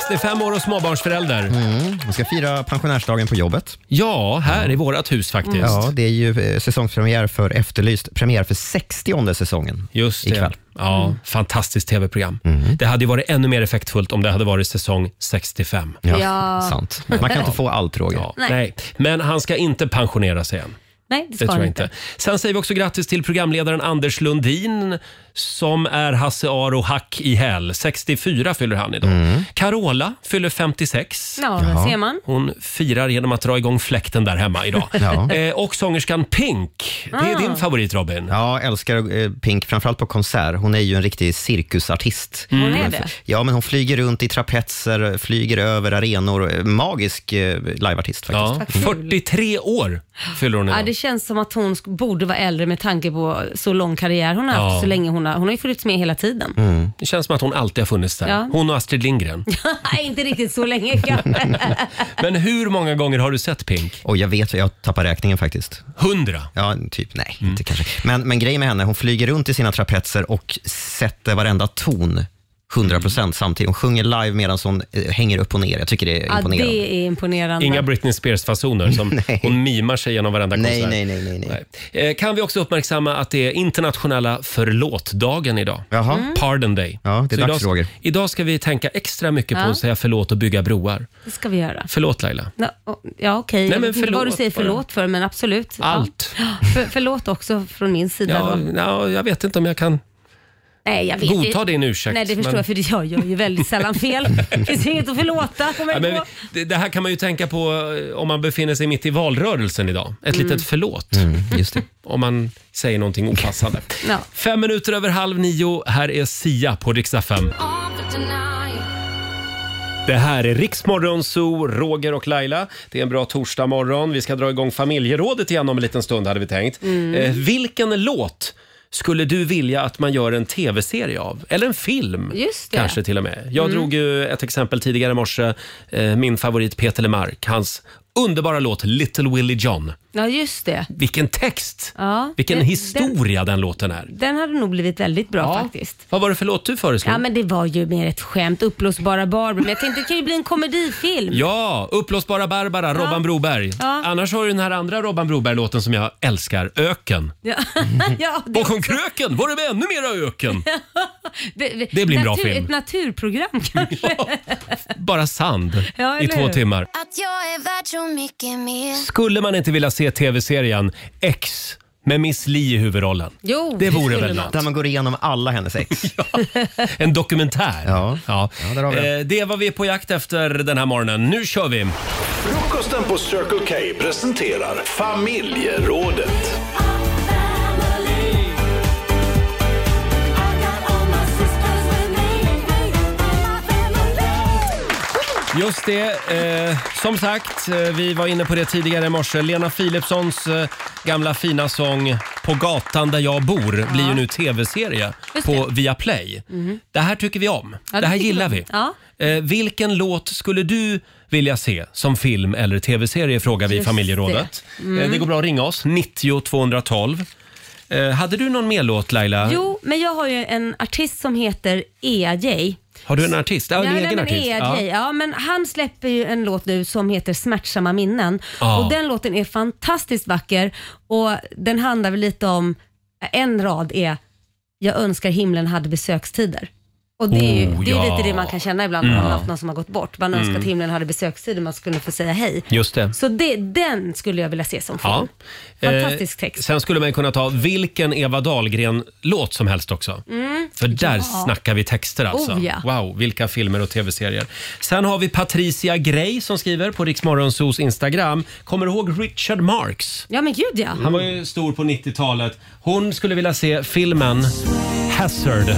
65 år och småbarnsförälder. Mm. Man ska fira pensionärsdagen på jobbet. Ja, här i vårt hus faktiskt. Ja, det är ju eh, säsongspremiär för Efterlyst. Premiär för 60 säsongen Just det. ikväll. Mm. Ja, fantastiskt tv-program. Det hade ju varit ännu mer effektfullt om det hade varit säsong 65. Ja, Ja. sant. Man kan inte få allt, Roger. Ja, nej. Nej. Men han ska inte pensionera sig än. Nej, det Det ska tror han jag inte. inte. Sen säger vi också grattis till programledaren Anders Lundin som är Hasse Aro hack i häl. 64 fyller han idag. Carola fyller 56. Ja, där Jaha. ser man. Hon firar genom att dra igång fläkten där hemma idag. Ja. Eh, och sångerskan Pink. Det är Ah. din favorit Robin. Ja, älskar eh, Pink, framförallt på konsert. Hon är ju en riktig cirkusartist. Hon är det? Ja, men hon flyger runt i trapetser, flyger över arenor. Magisk eh, liveartist faktiskt. Ja, 43 år fyller hon Ja, det känns som att hon sk- borde vara äldre med tanke på så lång karriär hon har haft, Ja. Mm. så länge hon har, hon har ju funnits med hela tiden. Det känns som att hon alltid har funnits där. Ja. Hon och Astrid Lindgren. Nej, inte riktigt så länge kanske. Men hur många gånger har du sett Pink? Och jag vet, jag tappar räkningen faktiskt. Hundra? Ja, typ. Nej, inte kanske. Men, men grejen med henne, hon flyger runt i sina trapetser och sätter varenda ton 100 procent samtidigt. Hon sjunger live medan hon eh, hänger upp och ner. Jag tycker det är Ja, imponerande. det är imponerande. Inga Britney Spears-fasoner som hon mimar sig genom varenda Nej, konsert. nej, nej, nej. Eh, Kan vi också uppmärksamma att det är internationella förlåtdagen idag. Jaha. Mm. Pardon day. Ja, det är Så dags, idag, Roger. Idag ska vi tänka extra mycket på Ja. att säga förlåt och bygga broar. Det ska vi göra. Förlåt Laila. Nå, o- Ja, okej. Nej, men Jag vet inte Vad du förlåt säger bara. förlåt för, men absolut. Allt. Ja. För, förlåt också från min sida. Ja, då. ja, jag vet inte om jag kan Nej, jag vet Godta det- din ursäkt, Nej, det förstår men- jag för jag gör ju väldigt sällan fel. Det finns inget att förlåta. Ja, Kommer jag men på. det, det här kan man ju tänka på eh, om man befinner sig mitt i valrörelsen idag. Ett Mm. litet förlåt. Om man säger någonting opassande. Ja. Fem minuter över halv nio. Här är Sia på riksdag 5. Det här är Riksmorgon Zoo, Roger och Laila. Det är en bra torsdagmorgon. Vi ska dra igång familjerådet igen om en liten stund hade vi tänkt. Mm. Eh, vilken låt skulle du vilja att man gör en tv-serie av? Eller en film Just det. kanske till och med. Jag Mm. drog ju ett exempel tidigare i morse. Eh, min favorit Peter Lemark, hans underbara låt Little Willie John. Ja, just det. Vilken text! Ja, Vilken den- historia den låten är. Den, den hade nog blivit väldigt bra faktiskt. Vad var det för låt du föreslog? Ja, men det var ju mer ett skämt. Uppblåsbara Barbro. Men jag tänkte det kan ju bli en komedifilm. Ja, Uppblåsbara Barbara, Robban Broberg. Ja. Annars har du den här andra Robban Broberg-låten som jag älskar, Öken. Ja. ja, det, Bakom kröken var det med ännu mera öken. det, det blir en bra natur, film. Ett naturprogram kanske. Bara sand Ja, i eller två hur? timmar. Att jag är värd så mycket mer Skulle man inte vilja se tv-serien X med Miss Li i huvudrollen? Jo, det vore väl något. Där man går igenom alla hennes ex. En dokumentär. Ja. Ja. har vi Eh, det är vad vi är på jakt efter den här morgonen. Nu kör vi! Frukosten på Circle K presenterar familjerådet. Just det. Eh, som sagt, eh, vi var inne på det tidigare i morse. Lena Philipssons eh, gamla fina sång På gatan där jag bor blir ju nu tv-serie Just på det. Viaplay. Mhm. Det här tycker vi om. Ja, det här tycker gillar jag. vi. Ja. Eh, vilken låt skulle du vilja se som film eller tv-serie frågar vi i Just familjerådet. det. Mm. Eh, det går bra att ringa oss, 90 212. Eh, hade du någon mer låt Laila? Jo, men jag har ju en artist som heter EAJ. Har du en artist? Ja, en Nej, egen nej, men artist. EAJ. Ja. men han släpper ju en låt nu som heter Smärtsamma minnen. Ja. Och den låten är fantastiskt vacker och den handlar väl lite om, en rad är “Jag önskar himlen hade besökstider”. Och det är ju Oh, det är ja. lite det man kan känna ibland när Mm. man har haft någon som har gått bort. Man önskar Mm. att himlen hade besökstider, man skulle få säga hej. Just det. Så det, den skulle jag vilja se som film. Ja. Fantastisk Eh, text. Sen skulle man kunna ta vilken Eva Dahlgren-låt som helst också. Mm. För där Ja. snackar vi texter alltså. Oh, ja. Wow, vilka filmer och tv-serier. Sen har vi Patricia Gray som skriver på Riksmorgonsos Instagram. Kommer du ihåg Richard Marx? Ja men gud ja. Han var ju stor på 90-talet. Hon skulle vilja se filmen Hazard.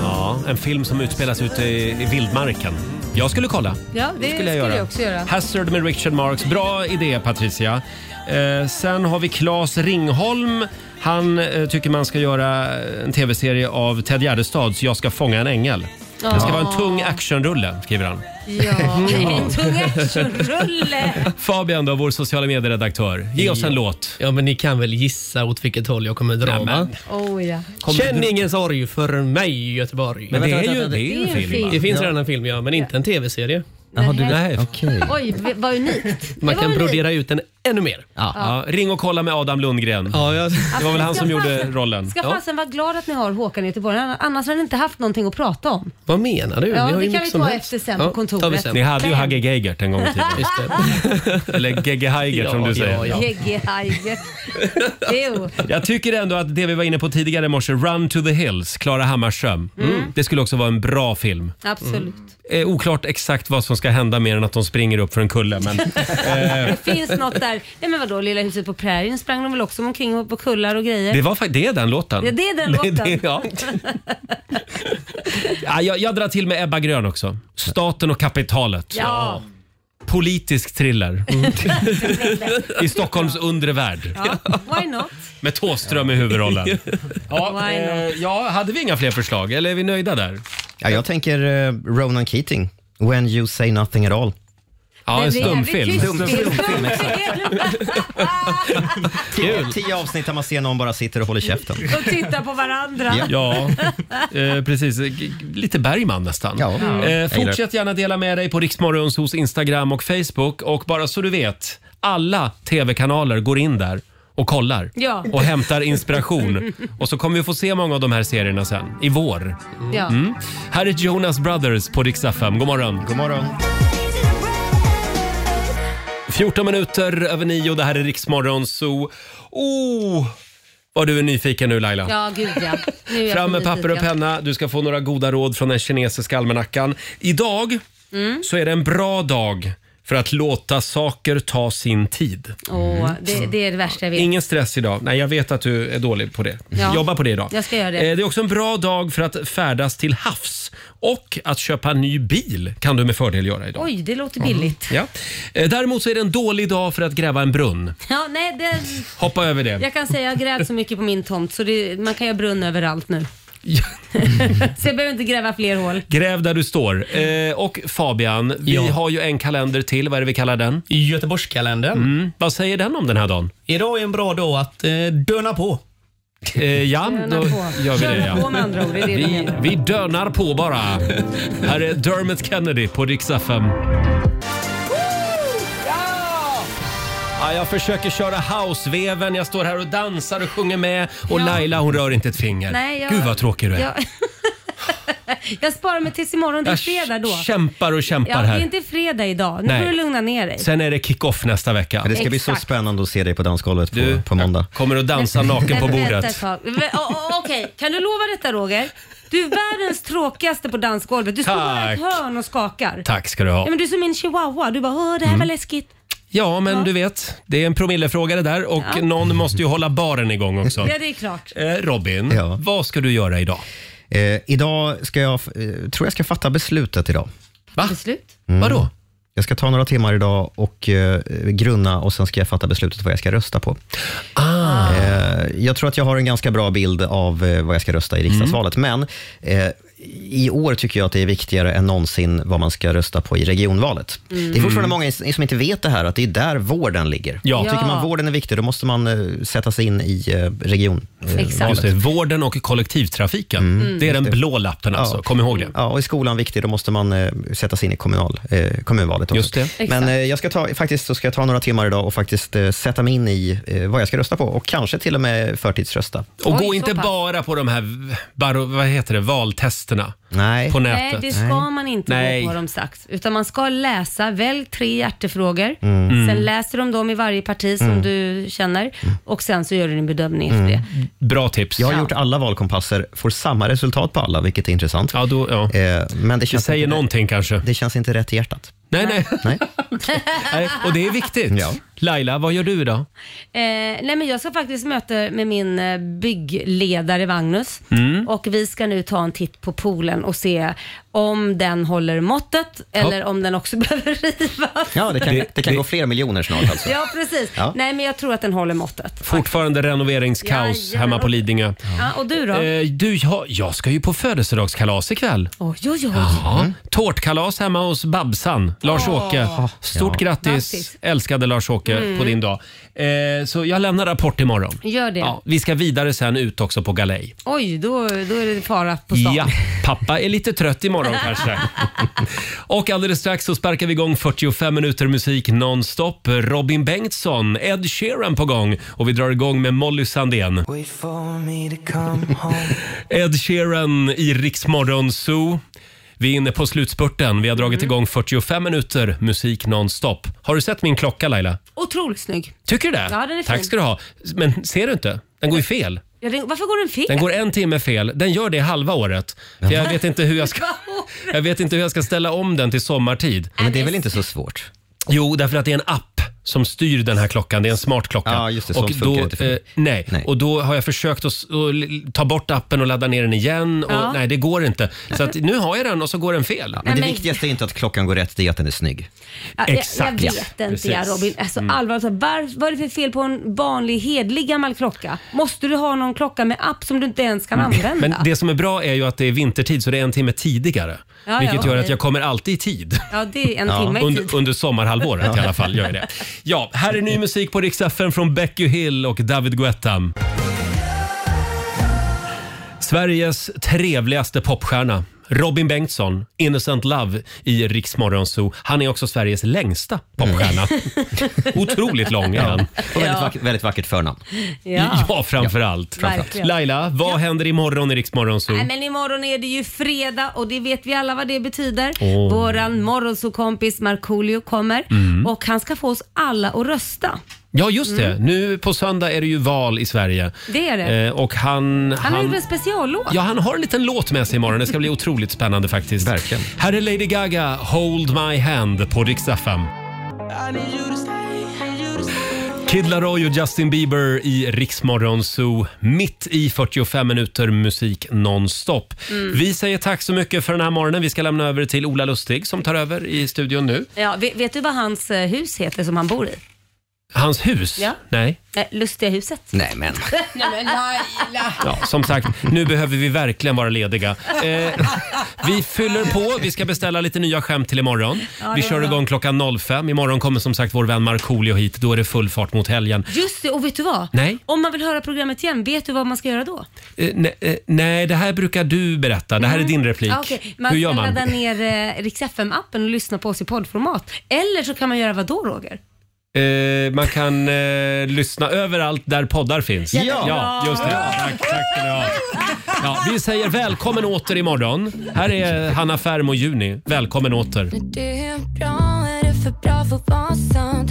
Ja, en film som utspelas ute i, i vildmarken. Jag skulle kolla. Ja, det skulle jag också göra. Hazard med Richard Marx. Bra idé Patricia. Eh, sen har vi Claes Ringholm. Han eh, tycker man ska göra en tv-serie av Ted Gärdestads Jag ska fånga en ängel. Det ska Ja. vara en tung actionrulle, skriver han. Ja, en tung actionrulle. Fabian då, vår sociala medieredaktör. Ge oss en låt. Ja, men ni kan väl gissa åt vilket håll jag kommer dra, va? Oh, ja. Känn ingen sorg för mig i Göteborg. Men vänta, vänta, vänta. Det är en film, va? Det finns Ja. redan en film, ja, men inte en tv-serie. Jaha, du- Nej. Okay. Oj, v- vad unikt. Man Det kan var unikt. brodera ut den ännu mer. Ja, ring och kolla med Adam Lundgren. Det var väl han som gjorde rollen. Ska fasen vara glad att ni har Håkan i Göteborg, annars har ni inte haft någonting att prata om. Vad menar du? Ja, vi har det ju kan mycket vi som ta helst. efter sen på kontoret. tar vi sen. Ni hade ju Hagge Geigert en gång i tiden. Eller Gegge Heigert som du säger. Gegge Heigert. Jo. Jag tycker ändå att det vi var inne på tidigare i morse, Run to the Hills, Klara Hammarström. Mm. Det skulle också vara en bra film. Absolut. Eh, oklart exakt vad som ska hända mer än att de springer upp för en kulle. Men, eh, Det finns något där. Nej men vadå, Lilla huset på prärien sprang de väl också omkring på kullar och grejer? det, var, fak- det är den låten. Ja, det är den låten. det- ja. Ja, jag, jag drar till med Ebba Grön också. Staten och kapitalet. Ja. Politisk thriller i Stockholms undre värld. ja. Why not? Med Thåström i huvudrollen. Ja, Why eh, ja, hade vi inga fler förslag eller är vi nöjda där? Ja, jag tänker eh, Ronan Keating, When you say nothing at all. Ja, en det är jävligt stumfilm. tyst. Stumfilm, Stumfilm, exakt. Tio, tio avsnitt där man ser någon bara sitter och håller käften. Och titta på varandra. Ja, eh, precis. G- Lite Bergman nästan. Ja. Eh, Jag gillar fortsätt gärna dela med dig på Riksmorgons hos Instagram och Facebook. Och bara så du vet, alla tv-kanaler går in där och kollar Ja. och hämtar inspiration. och så kommer vi få se många av de här serierna sen, i vår. Ja. Mm. Här är Jonas Brothers på Rix FM. God morgon. God morgon. 14 minuter över nio, det här är Riksmorgon Zoo. Oh, vad du är nyfiken nu Laila. Ja, gud ja. Nu är jag Fram med politisk, papper och ja. penna. Du ska få några goda råd från den kinesiska almanackan. Idag Mm. så är det en bra dag för att låta saker ta sin tid. Åh, det, det är det värsta jag vet. Ingen stress idag. Nej, jag vet att du är dålig på det. Ja. Jobba på det idag. Jag ska göra det. Eh, Det är också en bra dag för att färdas till havs och att köpa en ny bil kan du med fördel göra idag. Oj, det låter billigt. Ja. Eh, Däremot så är det en dålig dag för att gräva en brunn. Ja, nej, det, Hoppa över det. jag kan säga jag grävt så mycket på min tomt så det, man kan göra brunn överallt nu. så jag behöver inte gräva fler hål. Gräv där du står. Eh, och Fabian, vi har ju en kalender till. Vad är det vi kallar den? Göteborgskalendern. Mm. Vad säger den om den här dagen? Idag är en bra dag att eh, döna på. Eh, ja, Döna då på. gör vi det. Döna Ja. på med andra ord, det är det du vi, menar. vi dönar på bara. här är Dermot Kennedy på Rix FM. Ja, jag försöker köra houseveven, jag står här och dansar och sjunger med och Laila hon rör inte ett finger. Nej, jag- Gud vad tråkig du är. Jag, jag sparar mig tills imorgon. Det är Jag fredag då. kämpar och kämpar Ja, det här. är inte fredag idag. Nu Nej. får du lugna ner dig. Sen är det kick-off nästa vecka. Det ska bli så Exakt. spännande att se dig på dansgolvet på, på måndag. Kommer att dansa naken på Men vänta bordet. ett tag. Men, å- å- Okej, kan du lova detta Roger? Du är världens tråkigaste på dansgolvet. Du står bara i ett Tack. hörn och skakar. Tack ska du ha. Ja, men du är som min chihuahua. Du bara, Åh, det här var Mm. läskigt. Ja, men du vet, det är en promillefråga det där och Ja. någon måste ju hålla baren igång också. Ja, det är klart. Eh, Robin, vad ska du göra idag? Eh, idag ska jag, f- eh, tror jag ska fatta beslutet idag. Va? Beslut? Mm. Vadå? Jag ska ta några timmar idag och eh, grunna och sen ska jag fatta beslutet vad jag ska rösta på. Ah, Eh, jag tror att jag har en ganska bra bild av eh, vad jag ska rösta i riksdagsvalet, men eh, i år tycker jag att det är viktigare än någonsin vad man ska rösta på i regionvalet. Mm. Det är fortfarande Mm. många i- som inte vet det här, att det är där vården ligger. Ja. Tycker Ja. man vården är viktig, då måste man eh, sätta sig in i eh, Exakt. Just regionvalet. det, vården och kollektivtrafiken. Mm. Det är den blå lappen alltså. Kom ihåg det. Mm. Ja, och i skolan viktig, då måste man eh, sätta sig in i kommunal, eh, kommunvalet också. Just det. Men eh, jag ska ta, faktiskt så ska jag ta några timmar idag och faktiskt eh, sätta mig in i eh, vad jag ska rösta på och kanske till och med förtidsrösta. Och gå inte bara på de här v- baro, vad heter det, valtesterna Nej. på nätet. Nej, det ska man inte Nej. gå på dem strax. Utan man ska läsa, välj tre hjärtefrågor. Mm. Mm. Sen läser de dem i varje parti som Mm. du känner och sen så gör du din bedömning efter det. Mm. Bra tips. Jag har gjort alla valkompasser, får samma resultat på alla, vilket är intressant. Ja, då, ja. Eh, men det, känns säger inte, någonting kanske. Det känns inte rätt i hjärtat. Nej, nej. Nej. Nej, Och det är viktigt. Laila, vad gör du idag? Eh, nej men jag ska faktiskt möta med min eh, byggledare Magnus Mm. och vi ska nu ta en titt på poolen och se om den håller måttet eller om den också behöver rivas. Ja, det kan, det, kan gå flera miljoner snart alltså. Ja precis. Ja. Nej men jag tror att den håller måttet. Fortfarande renoveringskaos Jajamän. hemma på Lidingö. Ja, och du då? Eh, du, jag, jag ska ju på födelsedagskalas ikväll. Oj, oj, oj. Ja, tårtkalas hemma hos Babsan, Lars-Åke. Åh. Stort Ja. grattis, Grattis. älskade Lars-Åke, Mm. på din dag. Eh, så jag lämnar rapport imorgon. Gör det. Ja, vi ska vidare sen ut också på galej. Oj, då, då är det fara på stan. Ja, pappa är lite trött imorgon kanske. Och alldeles strax så sparkar vi igång 45 minuter musik nonstop. Robin Bengtsson, Ed Sheeran på gång och vi drar igång med Molly Sandén. Wait for me to come home. Ed Sheeran i Riksmorgon Zoo. Vi är inne på slutspurten. Vi har dragit Mm. igång 45 minuter musik nonstop. Har du sett min klocka Laila? Otroligt snygg. Tycker du det? Ja, den är fin. Tack ska du ha. Men ser du inte? Den går ju fel. Ja, den, varför går den fel? Den går en timme fel. Den gör det halva året. För jag vet inte hur jag ska... Jag vet inte hur jag ska ställa om den till sommartid. Men det är väl inte så svårt? Jo, därför att det är en app som styr den här klockan. Det är en smart klocka. Ja, just det. och Sånt då, eh, funkar inte för mig. nej. och då har jag försökt att s- att l- ta bort appen och ladda ner den igen. Och, Ja. Nej, det går inte. Så att, nu har jag den och så går den fel. men det Nej, men- viktigaste är inte att klockan går rätt, det är att den är snygg. Ja, Exakt, Jag, jag ja. vet inte jag, Precis. Robin. Alltså, Mm. allvarligt, talat, var, vad är det för fel på en vanlig hedlig gammal klocka? Måste du Mm. ha någon klocka med app som du inte ens kan använda? Men det som är bra är ju att det är vintertid så det är en timme tidigare. Ja, vilket ja, gör att okej. jag kommer alltid i tid. Ja, det är en timme i tid. under, under sommarhalvåret i alla fall gör jag det. Ja, här är ny musik på Rix FM från Becky Hill och David Guetta. Sveriges trevligaste popstjärna, Robin Bengtsson, Innocent Love i Rix Morgon Zoo. Han är också Sveriges längsta popstjärna. Mm. Otroligt lång är Ja. han. Och väldigt vack- väldigt vackert förnamn. Ja. Ja, framför allt. Verkligen. Äh, framför allt. Laila, vad händer imorgon i Rix Morgon Zoo? Nej, men imorgon är det ju fredag och det vet vi alla vad det betyder. Åh. Våran morgonsåkompis Markoolio kommer Mm. och han ska få oss alla att rösta. Ja, just det. Mm. Nu på söndag är det ju val i Sverige. Det är det. Eh, och han... han har gjort en speciallåt. Ja, han har en liten låt med sig imorgon. Det ska bli otroligt spännande faktiskt. Verkligen. Här är Lady Gaga, Hold My Hand på Rix FM. Kid Laroi och Justin Bieber i Riksmorgon Zoo. Mitt i 45 minuter musik nonstop. Mm. Vi säger tack så mycket för den här morgonen. Vi ska lämna över till Ola Lustig som tar över i studion nu. Ja, vet, vet du vad hans eh, hus heter som han bor i? Hans hus? Ja. Nej. Eh, Lustiga huset. Nej men. Nej men Laila! Ja, som sagt, nu behöver vi verkligen vara lediga. Eh, vi fyller på. Vi ska beställa lite nya skämt till imorgon. Ja, det Vi var kör bra. igång klockan 05. Imorgon kommer som sagt vår vän Markoolio hit. Då är det full fart mot helgen. Just det, och vet du vad? Nej. Om man vill höra programmet igen, vet du vad man ska göra då? Eh, ne- eh, nej, det här brukar du berätta. Det här är din replik. Ah, okej. Man Hur gör ska man? ladda ner eh, Rix FM-appen och lyssna på oss i poddformat. Eller så kan man göra vad då Roger? Eh, man kan eh, lyssna överallt där poddar finns. Ja. ja just det. Tack, tack ska ni ha. Ja, vi säger välkommen åter imorgon. Här är Hanna Färm och Juni. Välkommen åter. Det är bra, är det för bra för att vara sant?